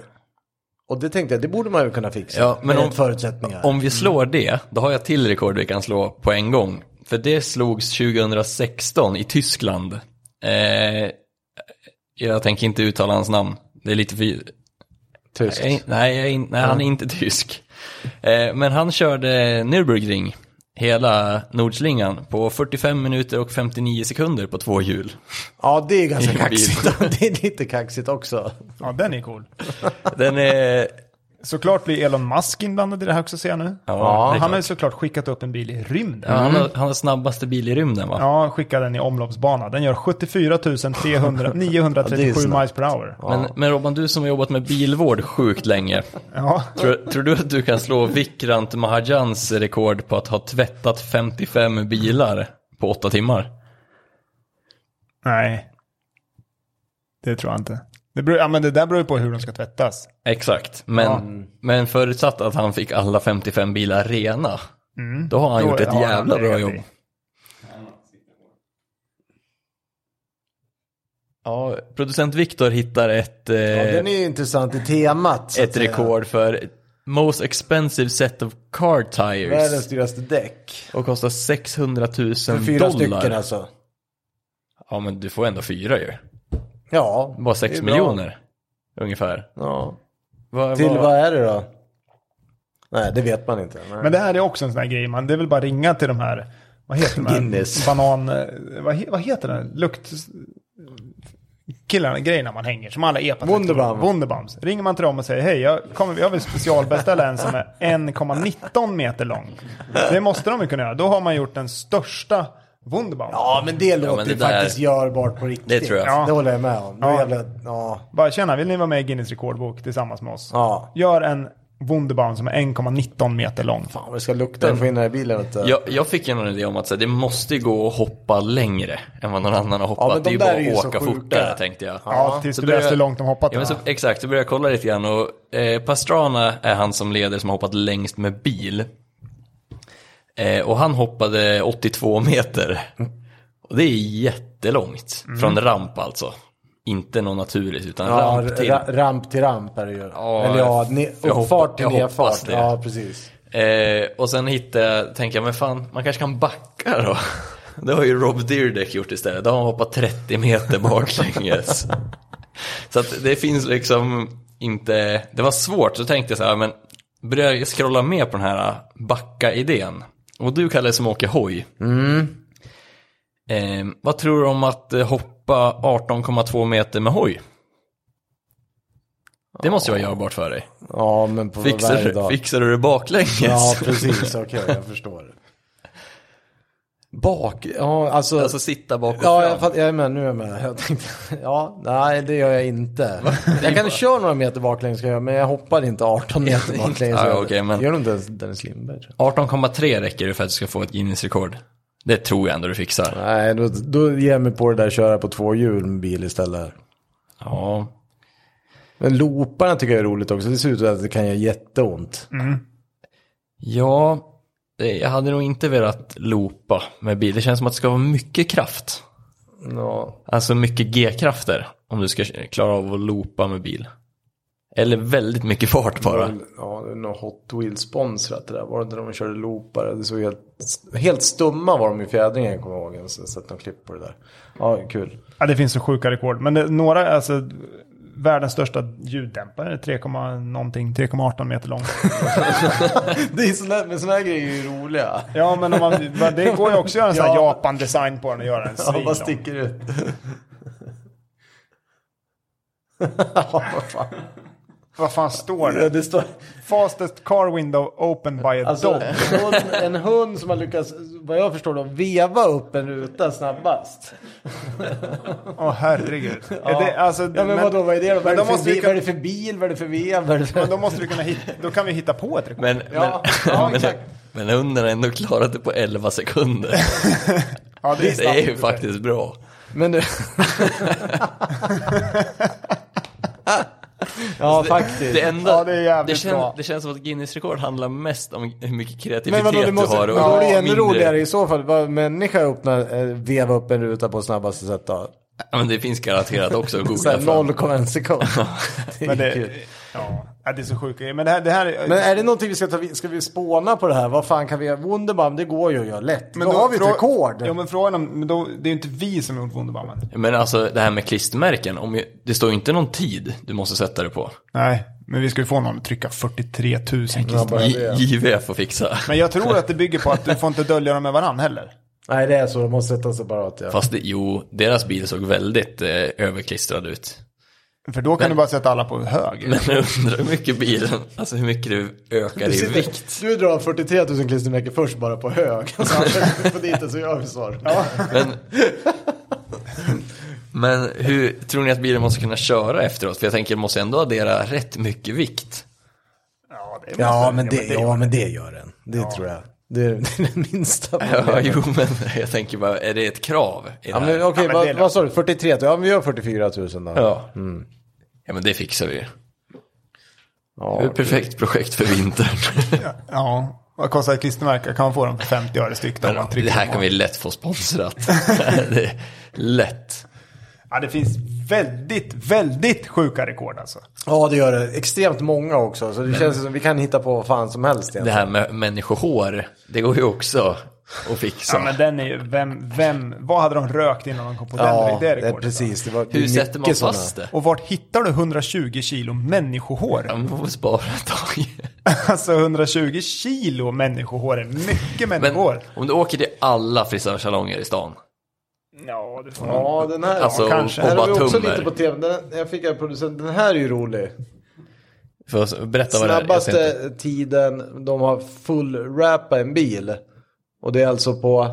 [SPEAKER 3] och det tänkte jag, det borde man ju kunna fixa.
[SPEAKER 1] Ja, men
[SPEAKER 3] med
[SPEAKER 1] om-
[SPEAKER 3] rätt förutsättningar. Mm.
[SPEAKER 1] Om vi slår det, då har jag till rekord vi kan slå på en gång. För det slogs 2016 i Tyskland. Eh, jag tänker inte uttala hans namn. Det är lite för...
[SPEAKER 3] Tyst.
[SPEAKER 1] Nej, nej, jag är in- nej han är inte tysk. Eh, men han körde Nürburgring, hela Nordslingan, på 45 minuter och 59 sekunder på två hjul.
[SPEAKER 3] Ja, det är ganska
[SPEAKER 1] Ingen bil.
[SPEAKER 3] kaxigt. det är lite kaxigt också.
[SPEAKER 1] Eh,
[SPEAKER 2] Ja, den är cool.
[SPEAKER 1] Den är...
[SPEAKER 2] Såklart blir Elon Musk inblandad i det här också ser jag nu.
[SPEAKER 1] Ja, det är
[SPEAKER 2] han har
[SPEAKER 1] klart.
[SPEAKER 2] ju såklart skickat upp en bil i rymden.
[SPEAKER 1] Ja,
[SPEAKER 3] Mm.
[SPEAKER 1] han, har, han har snabbaste bil i rymden va?
[SPEAKER 2] Ja, skicka den i omloppsbana. Den gör 74 300,
[SPEAKER 3] Ja, det är
[SPEAKER 2] 937
[SPEAKER 3] snabbt.
[SPEAKER 2] miles per hour.
[SPEAKER 1] Men, men Robban, du som har jobbat med bilvård sjukt länge,
[SPEAKER 2] Ja.
[SPEAKER 1] tror, tror du att du kan slå Vikrant Mahajans rekord på att ha tvättat 55 bilar på åtta timmar?
[SPEAKER 2] Nej. Det tror jag inte. Det, beror, ja, men det där beror ju på hur de ska tvättas.
[SPEAKER 1] Exakt, men, men förutsatt att han fick alla 55 bilar rena,
[SPEAKER 3] Mm.
[SPEAKER 1] då har han
[SPEAKER 2] Då
[SPEAKER 1] gjort ett
[SPEAKER 2] har han
[SPEAKER 1] jävla bra
[SPEAKER 2] legat i.
[SPEAKER 1] jobb. Ja, producent Viktor hittar ett, eh,
[SPEAKER 3] Ja, den är ju intressant i temat. så att
[SPEAKER 1] ett
[SPEAKER 3] säga.
[SPEAKER 1] rekord för most expensive set of car
[SPEAKER 3] Världens
[SPEAKER 1] tires
[SPEAKER 3] dyraste däck.
[SPEAKER 1] och kostar 600 000
[SPEAKER 3] För fyra
[SPEAKER 1] dollar.
[SPEAKER 3] stycken alltså.
[SPEAKER 1] Ja, men du får ändå fyra ju.
[SPEAKER 3] Ja.
[SPEAKER 1] Bara
[SPEAKER 3] det
[SPEAKER 1] 6
[SPEAKER 3] är bra.
[SPEAKER 1] miljoner ungefär.
[SPEAKER 3] Ja.
[SPEAKER 1] Vad-
[SPEAKER 3] Till
[SPEAKER 1] vad-
[SPEAKER 3] vad är det då? Nej, det vet man inte. Nej.
[SPEAKER 2] Men det här är också en sån här grej, man. Det är väl bara ringa till de här, vad heter de här?
[SPEAKER 3] Guinness.
[SPEAKER 2] Banan, eh, vad, he, vad heter den? Lukt... Killarna, grejerna man hänger, som alla epa
[SPEAKER 3] Wunderbaum.
[SPEAKER 2] Wunderbams. Ringer man till dem och säger hej, jag, kommer, jag vill specialbeställa en som är 1,19 meter lång. Det måste de ju kunna göra. Då har man gjort den största Wunderbaum.
[SPEAKER 3] Ja, men det låter
[SPEAKER 1] men
[SPEAKER 3] ju
[SPEAKER 1] det där-
[SPEAKER 3] faktiskt görbart på riktigt.
[SPEAKER 1] Det tror jag.
[SPEAKER 2] Ja.
[SPEAKER 3] Det håller jag med om. Ja.
[SPEAKER 2] Ja.
[SPEAKER 3] Jävla, ja.
[SPEAKER 2] Bara tjena, vill ni vara med i Guinness rekordbok tillsammans med oss?
[SPEAKER 3] ja.
[SPEAKER 2] Gör en Wunderbaum som är 1,19 meter lång.
[SPEAKER 3] Fan, vad det ska lukta att få in den här bilen. Vet du.
[SPEAKER 1] Jag, jag fick en idé om att så här, det måste gå att hoppa längre än vad någon annan har hoppat.
[SPEAKER 3] Ja, men
[SPEAKER 1] det
[SPEAKER 3] de
[SPEAKER 1] är ju
[SPEAKER 3] där
[SPEAKER 1] bara
[SPEAKER 3] är ju
[SPEAKER 1] att
[SPEAKER 3] så
[SPEAKER 1] åka
[SPEAKER 3] sjuka.
[SPEAKER 1] fortare tänkte jag.
[SPEAKER 2] Ja, tills
[SPEAKER 1] Så
[SPEAKER 2] du
[SPEAKER 1] börjar-
[SPEAKER 2] läste hur långt de hoppat.
[SPEAKER 1] Ja, men så,
[SPEAKER 2] va?
[SPEAKER 1] exakt, så började jag kolla lite grann och eh, Pastrana är han som leder som har hoppat längst med bil. Eh, och han hoppade 82 meter. Och det är jättelångt. Från ramp alltså. Inte någon naturligt utan
[SPEAKER 3] Mm. Ja,
[SPEAKER 1] ramp till.
[SPEAKER 3] ra- ramp till ramp är det ju.
[SPEAKER 1] Ja,
[SPEAKER 3] Eller ja, ne-
[SPEAKER 1] jag hoppas-
[SPEAKER 3] uppfart till
[SPEAKER 1] jag hoppas
[SPEAKER 3] nedfart.
[SPEAKER 1] det.
[SPEAKER 3] Ja, precis.
[SPEAKER 1] Eh, och sen hittade jag, tänkte jag, men fan, man kanske kan backa då. Det har ju Rob Dyrdek gjort istället. Då har han hoppat 30 meter baklänges. så att det finns liksom inte, det var svårt, så tänkte jag så här, men började jag scrolla med på den här äh, backa-idén. Och du Kalle som åker hoj.
[SPEAKER 3] Mm.
[SPEAKER 1] Eh, vad tror du om att eh, hoppa 18,2 meter med hoj? Det måste ju vara görbart för dig.
[SPEAKER 3] Ja, men på
[SPEAKER 1] Fixar,
[SPEAKER 3] varje
[SPEAKER 1] du-
[SPEAKER 3] dag.
[SPEAKER 1] fixar du det baklänges?
[SPEAKER 3] Ja, precis. Okej, jag förstår. Bak, ja alltså.
[SPEAKER 1] Alltså sitta bak och
[SPEAKER 3] ja, jag,
[SPEAKER 1] fram.
[SPEAKER 3] fatt, jag är med, nu är jag med. Jag tänkte, ja, nej det gör jag inte. Jag kan köra några meter baklänges kan jag, men jag hoppar inte 18 meter baklänges.
[SPEAKER 1] Ja, okej, men-
[SPEAKER 3] Gör du inte ens Dennis Lindberg? tror
[SPEAKER 1] 18,3 räcker det för att du ska få ett Guinness-rekord. Det tror jag ändå du fixar.
[SPEAKER 3] jag. Nej, då, då ger jag mig på det där köra på två hjul med bil istället.
[SPEAKER 1] Ja.
[SPEAKER 3] Men looparna tycker jag är roligt också. Det ser ut att det kan göra jätteont.
[SPEAKER 1] Ja, eh, jag hade nog inte velat loopa med bil. Det känns som att det ska vara mycket kraft.
[SPEAKER 3] Mm. Ja.
[SPEAKER 1] Alltså mycket G-krafter om du ska klara av att loopa med bil. Eller väldigt mycket fart bara.
[SPEAKER 3] Ja, det är nog Hot Wheels sponsrat det där. Var det inte när de körde loopare? Det såg helt, helt stumma var de i fjädringen kommer jag ihåg. Jag har sett någon klipp på det där. Ja, kul.
[SPEAKER 2] Ja, det finns så sjuka rekord. Men det, några, alltså världens största ljuddämpare, 3, någonting, 3,18 meter lång.
[SPEAKER 3] Det är såna, men såna här grejer är ju roliga.
[SPEAKER 2] Ja, men om man, det går ju också att göra en sån här
[SPEAKER 3] Ja.
[SPEAKER 2] Japan-design på den och göra en
[SPEAKER 3] Ja,
[SPEAKER 2] svinlång.
[SPEAKER 3] vad sticker ut? ja, vad fan.
[SPEAKER 2] Vad fan står
[SPEAKER 3] Ja,
[SPEAKER 2] det?
[SPEAKER 3] det står...
[SPEAKER 2] Fastest car window open by a
[SPEAKER 3] Alltså,
[SPEAKER 2] dog.
[SPEAKER 3] en hund, en hund som har lyckats, vad jag förstår då, veva upp en ruta snabbast.
[SPEAKER 2] Åh herregud.
[SPEAKER 3] Ja.
[SPEAKER 2] Är det, alltså,
[SPEAKER 3] ja, men, vadå, vad är det då? Vad
[SPEAKER 2] Men
[SPEAKER 3] är
[SPEAKER 2] då
[SPEAKER 3] det, för,
[SPEAKER 2] måste vi
[SPEAKER 3] vi, vad är det
[SPEAKER 2] kunna,
[SPEAKER 3] för bil? Vad är det för vev? Vad är det för...
[SPEAKER 2] men då måste vi kunna hitta, då kan vi hitta på ett rekord.
[SPEAKER 1] Men,
[SPEAKER 3] Ja,
[SPEAKER 1] men,
[SPEAKER 3] ja,
[SPEAKER 1] men,
[SPEAKER 3] exakt.
[SPEAKER 1] men hunden har ändå klarat det på 11 sekunder.
[SPEAKER 2] ja,
[SPEAKER 1] Det är ju
[SPEAKER 2] snabbt.
[SPEAKER 1] faktiskt bra.
[SPEAKER 3] Men du... ja, faktiskt.
[SPEAKER 1] Det, enda,
[SPEAKER 2] Ja, det är jävligt
[SPEAKER 1] det, känns-
[SPEAKER 2] bra.
[SPEAKER 1] det känns som att Guinness rekord handlar mest om hur mycket
[SPEAKER 3] men
[SPEAKER 1] kreativitet
[SPEAKER 3] vadå, det måste,
[SPEAKER 1] du har.
[SPEAKER 3] men då är det ännu
[SPEAKER 1] mindre-
[SPEAKER 3] roligare i så fall. Vad människa öppnar, eh, veva upp en ruta på snabbaste sätt då.
[SPEAKER 1] Ja, men det finns garanterat också att
[SPEAKER 3] Så
[SPEAKER 1] googla
[SPEAKER 3] här
[SPEAKER 1] fram.
[SPEAKER 3] 0,1 sekund. Det är
[SPEAKER 2] Men det,
[SPEAKER 3] kul.
[SPEAKER 2] ja, ja, det är så sjukt. Men det här, det här är-
[SPEAKER 3] Men är det någonting vi ska ta, ska vi spåna på det här? Vad fan kan vi göra? Wunderbaum, det går ju att göra lätt. Men då, har vi ett
[SPEAKER 2] frå-
[SPEAKER 3] rekord.
[SPEAKER 2] Ja, men frågan om, men då, det är ju inte vi som har gjort Wunderbaum.
[SPEAKER 1] Men alltså det här med klistermärken, om ju, det står ju inte någon tid du måste sätta det på.
[SPEAKER 2] Nej, men vi ska ju få någon att trycka 43 000 klistermärken.
[SPEAKER 1] J- JVF får fixa.
[SPEAKER 2] Men jag tror att det bygger på att du får inte dölja dem med varandra heller.
[SPEAKER 3] Nej, det är så. De måste sätta separat. Ja.
[SPEAKER 1] Fast det, jo, deras bil såg väldigt eh, överklistrad ut.
[SPEAKER 2] För då kan du bara sätta alla på hög.
[SPEAKER 1] Men jag undrar hur mycket bilen, alltså hur mycket det ökar i vikt.
[SPEAKER 3] Du drar 43 000 klistermärken först bara på hög. På dit så gör vi så. Ja.
[SPEAKER 1] Men, men hur tror ni att bilen måste kunna köra efteråt? För jag tänker, det måste ändå addera rätt mycket vikt.
[SPEAKER 2] Ja, det
[SPEAKER 3] Ja,
[SPEAKER 2] måste-
[SPEAKER 3] men det,
[SPEAKER 2] är-
[SPEAKER 3] ja, men det gör den. Det tror jag. Det är, det är den minsta.
[SPEAKER 1] Ja, jo, men jag tänker bara, är det ett krav? I
[SPEAKER 3] Ja,
[SPEAKER 1] det
[SPEAKER 3] men,
[SPEAKER 1] här?
[SPEAKER 3] okej,
[SPEAKER 2] Ja, men det är
[SPEAKER 3] vad,
[SPEAKER 2] lugnt.
[SPEAKER 3] vad sa du? 43 000? Ja, men vi gör 44 000 då.
[SPEAKER 1] Ja. Mm. ja, men det fixar vi. Det är
[SPEAKER 3] Ja.
[SPEAKER 1] ett perfekt projekt för vintern.
[SPEAKER 2] Ja, vad kostar ett klistermärke? Kan man få dem för 50 öre styck då? om man trycker
[SPEAKER 1] Det här
[SPEAKER 2] på
[SPEAKER 1] kan vi
[SPEAKER 2] dem?
[SPEAKER 1] lätt få sponsrat. det är lätt.
[SPEAKER 2] Ja, det finns väldigt, väldigt sjuka rekord alltså.
[SPEAKER 3] ja, det gör det. Extremt många också. Så det känns som vi kan hitta på vad fan som helst
[SPEAKER 1] Det
[SPEAKER 3] egentligen.
[SPEAKER 1] här med människohår, det går ju också att fixa.
[SPEAKER 2] Ja, men den är ju, vem, vem, vad hade de rökt innan de kom på den?
[SPEAKER 3] Ja,
[SPEAKER 2] det
[SPEAKER 3] det
[SPEAKER 2] är
[SPEAKER 3] är
[SPEAKER 2] rekordet.
[SPEAKER 3] precis. Det var, det är
[SPEAKER 1] Hur sätter man
[SPEAKER 3] mycket såna.
[SPEAKER 1] fast det?
[SPEAKER 2] Och vart hittar du 120 kilo människohår?
[SPEAKER 1] Man får spara ett tag.
[SPEAKER 2] Alltså 120 kilo människohår är mycket
[SPEAKER 1] Men
[SPEAKER 2] människohår.
[SPEAKER 1] om du åker till alla frisörsalonger i stan.
[SPEAKER 2] Ja, det får man.
[SPEAKER 3] Ja, den här.
[SPEAKER 1] Alltså,
[SPEAKER 2] Ja, kanske.
[SPEAKER 1] och
[SPEAKER 3] här har vi
[SPEAKER 1] bara
[SPEAKER 3] också
[SPEAKER 1] tummer.
[SPEAKER 3] lite på tv. Den, jag fick en producent. Den här är ju rolig.
[SPEAKER 1] För att berätta vad det är. jag ser inte.
[SPEAKER 3] Snabbaste tiden de har full rappa en bil. Och det är alltså på...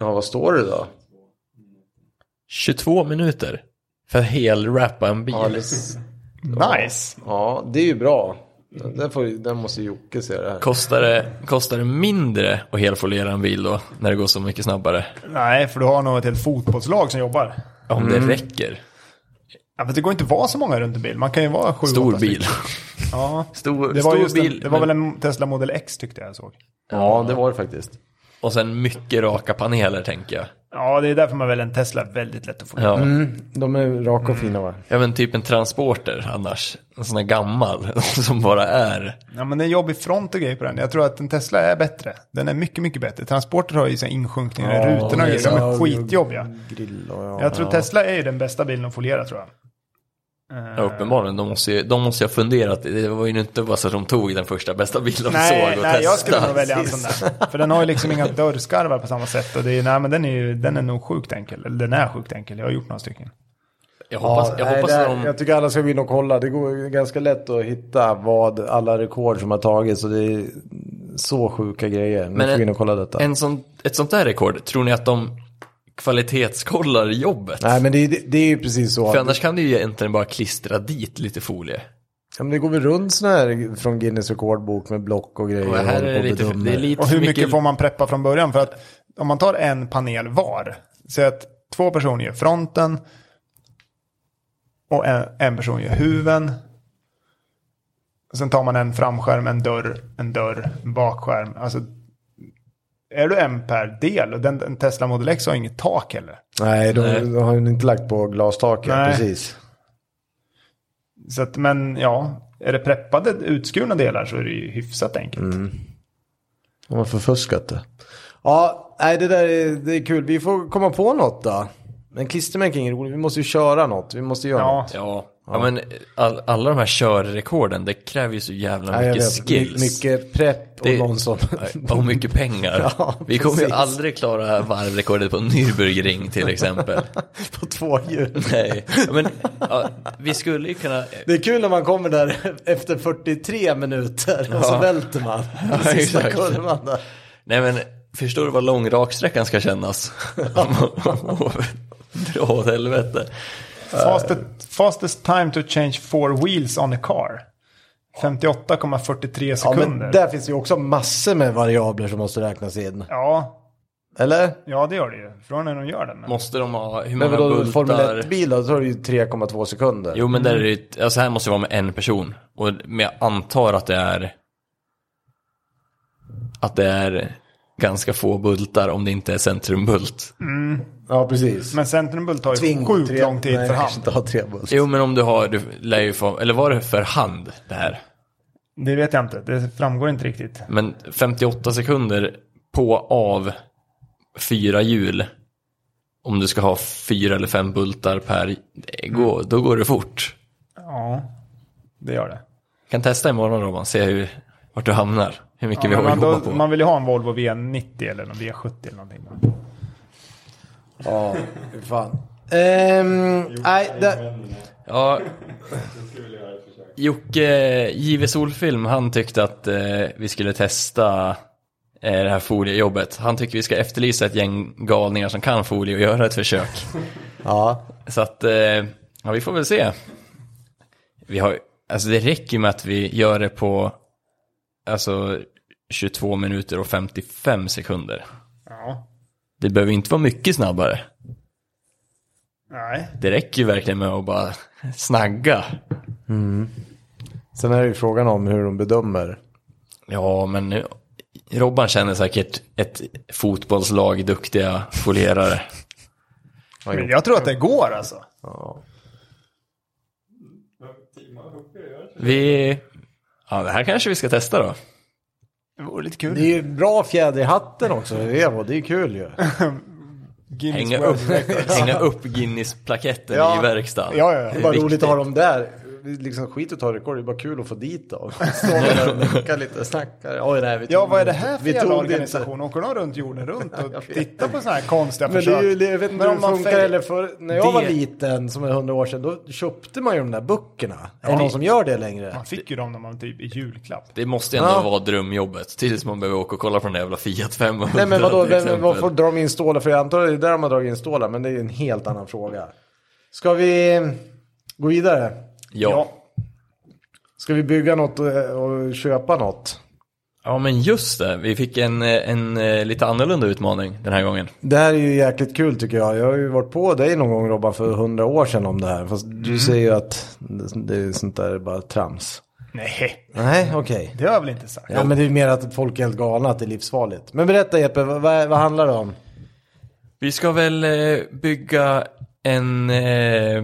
[SPEAKER 3] Ja, vad står det då?
[SPEAKER 1] 22 minuter. För att helrappa en bil.
[SPEAKER 3] Ja, det,
[SPEAKER 2] Nice.
[SPEAKER 3] ja, det är ju bra. Den, får, ju- den måste Jocke se det här.
[SPEAKER 1] Kostar, det, kostar det mindre att helfoliera en bil då? När det går så mycket snabbare?
[SPEAKER 2] Nej, för du har nog ett helt fotbollslag som jobbar.
[SPEAKER 1] Om
[SPEAKER 3] Mm.
[SPEAKER 1] det räcker.
[SPEAKER 2] Ja, men det går inte att vara så många runt en bil. Man kan ju vara sju,
[SPEAKER 1] Stor
[SPEAKER 2] åtta stycken.
[SPEAKER 1] bil.
[SPEAKER 2] Ja.
[SPEAKER 1] Stor,
[SPEAKER 2] Det var,
[SPEAKER 1] stor
[SPEAKER 2] just en,
[SPEAKER 1] bil.
[SPEAKER 2] det var
[SPEAKER 1] men-
[SPEAKER 2] väl en Tesla Model X tyckte jag jag såg.
[SPEAKER 3] Ja, det var det faktiskt.
[SPEAKER 1] Och sen mycket raka paneler tänker jag.
[SPEAKER 2] Ja, det är därför man väljer en Tesla väldigt lätt att få.
[SPEAKER 1] Ja.
[SPEAKER 3] Mm. De är raka och fina va?
[SPEAKER 1] Ja men typ en transporter annars. En sån här gammal som bara är.
[SPEAKER 2] Ja, men det är jobbig front och grejer på den. Jag tror att en Tesla är bättre. Den är mycket, mycket bättre. Transporter har ju sina insjunkningar i rutorna och grejer. De är skitjobbiga.
[SPEAKER 3] Grill och ja.
[SPEAKER 2] Jag tror Tesla är ju den bästa bilen att foliera tror jag.
[SPEAKER 1] Ja, uppenbarligen, de måste, ju, de måste ju ha funderat. Det var ju inte bara så att de tog den första bästa bilen de såg
[SPEAKER 2] Nej,
[SPEAKER 1] och
[SPEAKER 2] nej jag skulle nog
[SPEAKER 1] testade.
[SPEAKER 2] välja en sån där. För den har ju liksom inga dörrskarvar på samma sätt. Och det är, nej, men den är ju den är nog sjukt enkel. Eller den är sjukt enkel. Jag har gjort några stycken.
[SPEAKER 1] Jag hoppas, jag
[SPEAKER 3] nej,
[SPEAKER 1] hoppas
[SPEAKER 3] det här-
[SPEAKER 1] att de...
[SPEAKER 3] jag tycker alla ska gå in och kolla. Det går ju ganska lätt att hitta vad alla rekord som har tagits. Och det är så sjuka grejer. Ni
[SPEAKER 1] Men
[SPEAKER 3] får gå
[SPEAKER 1] en-
[SPEAKER 3] in och kolla detta.
[SPEAKER 1] En sån, ett sånt där rekord, tror ni att de kvalitetskollar jobbet?
[SPEAKER 3] Nej men det, det, det är ju precis så.
[SPEAKER 1] För
[SPEAKER 3] Att,
[SPEAKER 1] annars kan du ju egentligen bara klistra dit lite folie.
[SPEAKER 3] ja, men det går väl runt sådana här från Guinness rekordbok med block och grejer.
[SPEAKER 1] Och här är det lite,
[SPEAKER 3] bedömer.
[SPEAKER 1] det är lite
[SPEAKER 2] Och
[SPEAKER 1] för
[SPEAKER 2] hur mycket får man preppa från början? För att om man tar en panel var. Så att två personer gör fronten. Och en, en person gör huven. Sen tar man en framskärm, en dörr, en dörr, en bakskärm. Alltså, är du en per del? Och den, en Tesla Model X har inget tak heller.
[SPEAKER 3] Nej, de,
[SPEAKER 1] Nej.
[SPEAKER 3] de har ju inte lagt på glastaket.
[SPEAKER 2] Nej.
[SPEAKER 3] Precis.
[SPEAKER 2] Så att, men ja, är det preppade utskurna delar så är det ju hyfsat enkelt.
[SPEAKER 3] Mm. De har förfuskat det. Ja, nej det där är, det är kul. Vi får komma på något då. Men klistermärken är inget roligt. Vi måste ju köra något. Vi måste göra
[SPEAKER 2] Ja,
[SPEAKER 3] något.
[SPEAKER 1] Ja, Ja, men all, alla de här körrekorden, det kräver ju så jävla
[SPEAKER 3] Ja, jag
[SPEAKER 1] mycket
[SPEAKER 3] vet.
[SPEAKER 1] skills.
[SPEAKER 3] My- Mycket prepp och
[SPEAKER 1] Det-
[SPEAKER 3] någon som...
[SPEAKER 1] Och mycket pengar.
[SPEAKER 3] Ja,
[SPEAKER 1] Vi kommer ju
[SPEAKER 3] precis.
[SPEAKER 1] aldrig klara varvrekordet på Nürburgring till exempel.
[SPEAKER 3] på två hjul.
[SPEAKER 1] Nej, Ja, men ja, vi skulle ju kunna...
[SPEAKER 3] Det är kul när man kommer där efter 43 minuter och så
[SPEAKER 1] Ja.
[SPEAKER 3] välter man.
[SPEAKER 1] Ja,
[SPEAKER 3] Sista
[SPEAKER 1] exakt.
[SPEAKER 3] kurvan där.
[SPEAKER 1] Nej men, förstår du vad lång raksträckan ska kännas? Dra åt helvete.
[SPEAKER 2] Fastest, fastest time to change four wheels on a car. 58,43
[SPEAKER 3] Ja, men
[SPEAKER 2] sekunder. Ja,
[SPEAKER 3] där finns ju också massor med variabler som måste räknas in.
[SPEAKER 2] ja,
[SPEAKER 3] Eller?
[SPEAKER 2] det gör det ju. Frågan är när de gör den. Men...
[SPEAKER 1] Måste de ha, hur
[SPEAKER 3] Men
[SPEAKER 1] många
[SPEAKER 3] vadå, Formel
[SPEAKER 1] bultar?
[SPEAKER 3] 1-bil då, då är det ju 3,2 sekunder.
[SPEAKER 1] Jo men där
[SPEAKER 2] Mm.
[SPEAKER 1] är det ju- alltså här måste det vara med en person. Och men jag antar att det är... Att det är ganska få bultar om det inte är centrumbult.
[SPEAKER 2] Mm.
[SPEAKER 3] Ja, precis.
[SPEAKER 2] Men Centerbult tar ju
[SPEAKER 3] Twingo,
[SPEAKER 2] sjukt
[SPEAKER 3] tre-
[SPEAKER 2] lång tid
[SPEAKER 3] Nej,
[SPEAKER 2] för
[SPEAKER 3] jag
[SPEAKER 2] hand.
[SPEAKER 3] kanske inte har tre buss.
[SPEAKER 1] Jo men om du har, du lär ju få, eller var det för hand det här?
[SPEAKER 2] Det vet jag inte. Det framgår inte riktigt.
[SPEAKER 1] Men 58 sekunder på av fyra hjul. Om du ska ha fyra eller fem bultar per, det går,
[SPEAKER 2] Mm.
[SPEAKER 1] då går det fort.
[SPEAKER 2] Ja, det gör det.
[SPEAKER 1] Kan testa imorgon Robban, se hur, vart du hamnar. Hur mycket vi
[SPEAKER 2] men
[SPEAKER 1] har att
[SPEAKER 2] man,
[SPEAKER 1] jobba
[SPEAKER 2] då,
[SPEAKER 1] på.
[SPEAKER 2] man vill ju ha en Volvo V90 eller en V70 eller någonting.
[SPEAKER 3] Ja, fy fan. Ehm, nej, det,
[SPEAKER 1] Ja. Jocke, JW Solfilm, han tyckte att eh, vi skulle testa eh, det här foliejobbet. Han tycker vi ska efterlysa ett gäng galningar som kan folie och göra ett försök.
[SPEAKER 3] ja.
[SPEAKER 1] Så att, eh, ja vi får väl se. Vi har, alltså det räcker ju med att vi gör det på, alltså 22 minuter och 55 sekunder.
[SPEAKER 2] Ja,
[SPEAKER 1] Det behöver inte vara mycket snabbare.
[SPEAKER 2] nej.
[SPEAKER 1] Det räcker ju verkligen med att bara snagga.
[SPEAKER 3] Sen är det ju frågan om hur de bedömer.
[SPEAKER 1] Ja, men nu, Robban känner säkert ett fotbollslag duktiga folierare.
[SPEAKER 2] Men jag tror att det går alltså.
[SPEAKER 3] Ja.
[SPEAKER 1] Vi, ja det här kanske vi ska testa då.
[SPEAKER 2] Det vore lite
[SPEAKER 3] Det
[SPEAKER 2] kul.
[SPEAKER 3] är ju bra fjäder i hatten också för Evo, det är kul ju.
[SPEAKER 2] Guinness
[SPEAKER 1] Hänga
[SPEAKER 2] World
[SPEAKER 1] upp, hänga upp Guinness-plaketten
[SPEAKER 3] Ja.
[SPEAKER 1] i verkstaden.
[SPEAKER 2] Ja, ja, ja.
[SPEAKER 3] Det
[SPEAKER 1] Det
[SPEAKER 3] är
[SPEAKER 1] är
[SPEAKER 3] bara roligt
[SPEAKER 1] viktigt.
[SPEAKER 3] att ha dem där. Liksom skit att ta rekord, det är bara kul att få dit dem. Stå där och nickar lite, snackar. Oj, nej, vi tog
[SPEAKER 2] Ja, vad är det
[SPEAKER 3] inte.
[SPEAKER 2] här för
[SPEAKER 3] Vi
[SPEAKER 2] jävla
[SPEAKER 3] tog det inte.
[SPEAKER 2] organisation? Åker de runt jorden runt
[SPEAKER 3] Jag
[SPEAKER 2] och
[SPEAKER 3] vet.
[SPEAKER 2] tittar på sådana här konstiga
[SPEAKER 3] Men det
[SPEAKER 2] försök?
[SPEAKER 3] är ju, det- jag vet inte hur det funkar
[SPEAKER 2] fel-
[SPEAKER 3] eller för när jag var
[SPEAKER 1] Det-
[SPEAKER 3] liten, som är hundra år sedan, då köpte man ju de där böckerna. Är det någon som gör det längre?
[SPEAKER 2] Man fick ju dem när man typ i julklapp.
[SPEAKER 1] Det måste ändå
[SPEAKER 3] Ja.
[SPEAKER 1] vara drömjobbet. Tills man behöver åka och kolla på den där jävla Fiat 500
[SPEAKER 3] Nej men vadå,
[SPEAKER 1] till
[SPEAKER 3] vem,
[SPEAKER 1] exempel.
[SPEAKER 3] varför drar de in stålar? För jag antar att det är där de har dragit in stålar, men det är ju en helt annan fråga. Ska vi gå vidare?
[SPEAKER 1] Ja.
[SPEAKER 3] Ska vi bygga något och, och köpa något?
[SPEAKER 1] ja, men just det. Vi fick en, eh, en eh, lite annorlunda utmaning den här gången.
[SPEAKER 3] Det här är ju jäkligt kul tycker jag. Jag har ju varit på dig någon gång Robban för hundra år sedan om det här. Fast du säger ju att det, det är sånt där bara trams.
[SPEAKER 2] Nej,
[SPEAKER 3] Nej, okej.
[SPEAKER 2] det har jag väl inte sagt.
[SPEAKER 3] Ja, men det är mer att folk är helt galna, att det är livsfarligt. Men berätta Jeppe, vad, vad vad handlar det om?
[SPEAKER 1] Vi ska väl eh, bygga en... Eh,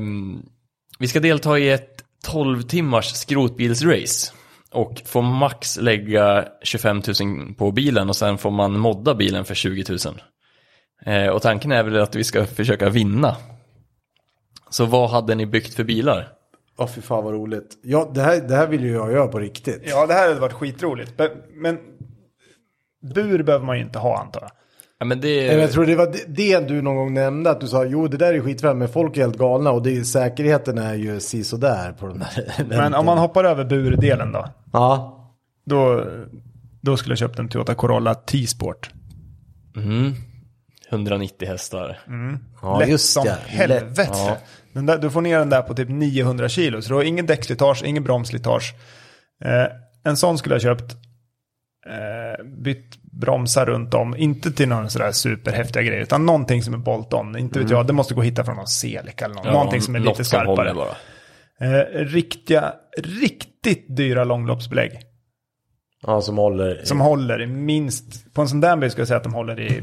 [SPEAKER 1] vi ska delta i ett 12 timmars skrotbilsrace. Och får max lägga 25 000 på bilen och sen får man modda bilen för 20 000. Eh, och tanken är väl att vi ska försöka vinna. Så vad hade ni byggt för bilar?
[SPEAKER 3] Ja, fy fan vad roligt. Ja, det här, det här vill ju jag göra på riktigt.
[SPEAKER 2] Ja, det här hade varit skitroligt. Men, men bur behöver man ju inte ha antar jag.
[SPEAKER 1] Ja, men det,
[SPEAKER 3] Nej, men Jag tror det var det- det du någon gång nämnde, att du sa jo det där är skitfrämt men folk är helt galna och det är, säkerheten är ju si där på den där
[SPEAKER 2] Men om man hoppar över burdelen då?
[SPEAKER 3] Ja,
[SPEAKER 2] Då, då skulle jag köpt en Toyota Corolla T-Sport.
[SPEAKER 1] mm, 190 hästar.
[SPEAKER 2] Mm.
[SPEAKER 3] ja
[SPEAKER 2] Lätt
[SPEAKER 3] just
[SPEAKER 2] som
[SPEAKER 3] ja. Lätt.
[SPEAKER 2] helvete. Den där, du får ner den där på typ 900 kilo, så du har ingen däckslitage, ingen bromsslitage. Eh, en sån skulle jag köpt. Eh, bytt bromsar runt om, inte till någon sådär superhäftiga grejer, utan någonting som är bolt-on. Inte vet jag, det måste gå att hitta från någon Celica eller någon,
[SPEAKER 1] Ja,
[SPEAKER 2] någonting som är
[SPEAKER 1] något
[SPEAKER 2] lite skarpare.
[SPEAKER 1] håller bara.
[SPEAKER 2] Eh, riktiga, riktigt dyra långloppsbelägg.
[SPEAKER 3] Ja, som håller.
[SPEAKER 2] Som håller i minst, på en sån där bil skulle jag säga att de håller i,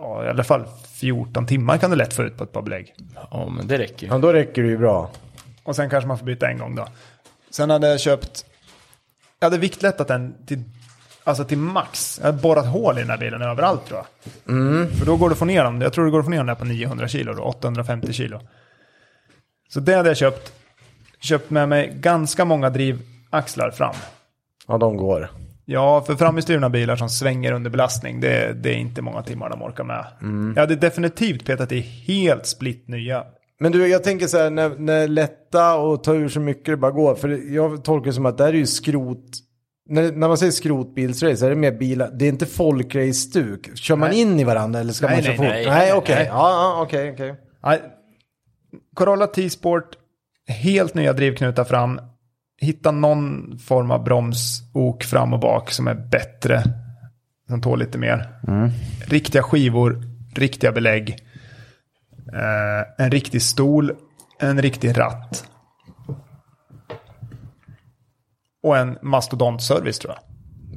[SPEAKER 2] ja, i alla fall 14 timmar kan du lätt få ut på ett par belägg.
[SPEAKER 1] Ja, men det räcker ju.
[SPEAKER 3] Ja, då räcker det ju bra.
[SPEAKER 2] Och sen kanske man får byta en gång då. Sen hade jag köpt, jag hade viktlättat den till, alltså till max. Jag hade borrat hål i den här bilen överallt tror jag. För då går det att få ner dem, jag tror det går att få ner den där på 900 kilo då, 850 kilo. Så det hade jag köpt. köpt med mig ganska många drivaxlar fram.
[SPEAKER 3] Ja, de går.
[SPEAKER 2] Ja, för framhjulsdrivna bilar som svänger under belastning, det, det är inte många timmar de orkar med. Jag hade definitivt petat i helt splitt nya.
[SPEAKER 3] Men du, jag tänker så här, när, när lätta och ta ur så mycket det bara går. För jag tolkar det som att det här är ju skrot. När, när man säger skrotbilsrace, är det mer bilar? Det är inte folkrace-stuk. Kör man
[SPEAKER 2] Nej.
[SPEAKER 3] in i varandra eller ska
[SPEAKER 2] Nej,
[SPEAKER 3] man köra
[SPEAKER 2] nej,
[SPEAKER 3] fort?
[SPEAKER 1] nej.
[SPEAKER 3] nej, okej.
[SPEAKER 1] Nej.
[SPEAKER 3] Ja, ja, okej, okej.
[SPEAKER 2] Nej. Corolla T-Sport, helt nya drivknutar fram. Hitta någon form av bromsok fram och bak som är bättre. Som tål lite mer.
[SPEAKER 3] Mm.
[SPEAKER 2] Riktiga skivor, riktiga belägg. Eh, en riktig stol, en riktig ratt. Och en mastodontservice tror jag.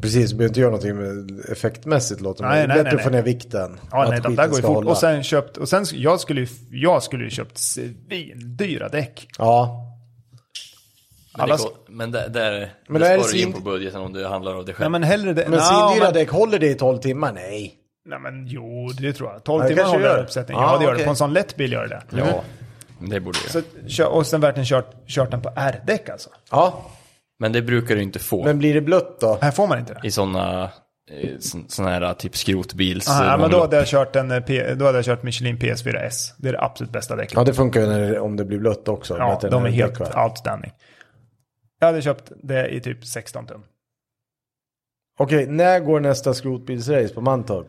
[SPEAKER 3] Precis, du behöver inte göra någonting med effektmässigt låter det.
[SPEAKER 2] Nej,
[SPEAKER 3] Det är
[SPEAKER 2] nej,
[SPEAKER 3] bättre
[SPEAKER 2] nej,
[SPEAKER 3] att få
[SPEAKER 2] nej.
[SPEAKER 3] ner vikten.
[SPEAKER 2] Ja,
[SPEAKER 3] Att
[SPEAKER 2] nej, de
[SPEAKER 3] skiten
[SPEAKER 2] där går ju
[SPEAKER 3] ska
[SPEAKER 2] fort.
[SPEAKER 3] hålla.
[SPEAKER 2] Och sen köpt, och sen, jag skulle ju, jag skulle ju köpt svindyra däck.
[SPEAKER 3] Ja,
[SPEAKER 1] Men,
[SPEAKER 2] Alla
[SPEAKER 1] det går, men där, där,
[SPEAKER 3] Men
[SPEAKER 1] men där
[SPEAKER 3] är det
[SPEAKER 1] sparar du in
[SPEAKER 3] svin-
[SPEAKER 1] på budgeten om du handlar av dig
[SPEAKER 2] Nej
[SPEAKER 1] själv.
[SPEAKER 2] men hellre det. Nå,
[SPEAKER 3] men svindyra
[SPEAKER 2] men-
[SPEAKER 3] däck, håller det i 12 timmar? Nej.
[SPEAKER 2] Nej men jo, det tror jag. 12
[SPEAKER 3] Ja, det
[SPEAKER 2] timmar
[SPEAKER 3] kanske
[SPEAKER 2] håller
[SPEAKER 3] gör.
[SPEAKER 2] den uppsättningen.
[SPEAKER 3] Ja,
[SPEAKER 2] Ja, det gör
[SPEAKER 3] okej.
[SPEAKER 2] det. På en sån lätt bil gör det det.
[SPEAKER 3] Mm.
[SPEAKER 1] Ja, det borde du
[SPEAKER 2] Så,
[SPEAKER 1] göra.
[SPEAKER 2] kö- och sen verkligen kört, kört den på R-däck alltså.
[SPEAKER 3] Ja,
[SPEAKER 1] Men det brukar du inte få
[SPEAKER 3] men blir det blött då?
[SPEAKER 2] Här får man inte det.
[SPEAKER 1] i sådana såna här typ skrotbils...
[SPEAKER 2] Ah, ja, men då
[SPEAKER 1] månlopp.
[SPEAKER 2] hade, jag kört en, eh, P, då hade jag kört Michelin PS4S. Det är det absolut bästa däcket.
[SPEAKER 3] Ja, det funkar ju när, det- om det blir blött också.
[SPEAKER 2] Ja,
[SPEAKER 3] Bättre
[SPEAKER 2] de
[SPEAKER 3] när
[SPEAKER 2] är
[SPEAKER 3] det
[SPEAKER 2] helt
[SPEAKER 3] däck, va?
[SPEAKER 2] outstanding. Jag hade köpt det i typ 16 tum.
[SPEAKER 3] Okej, när går nästa skrotbilsrace på Mantorp?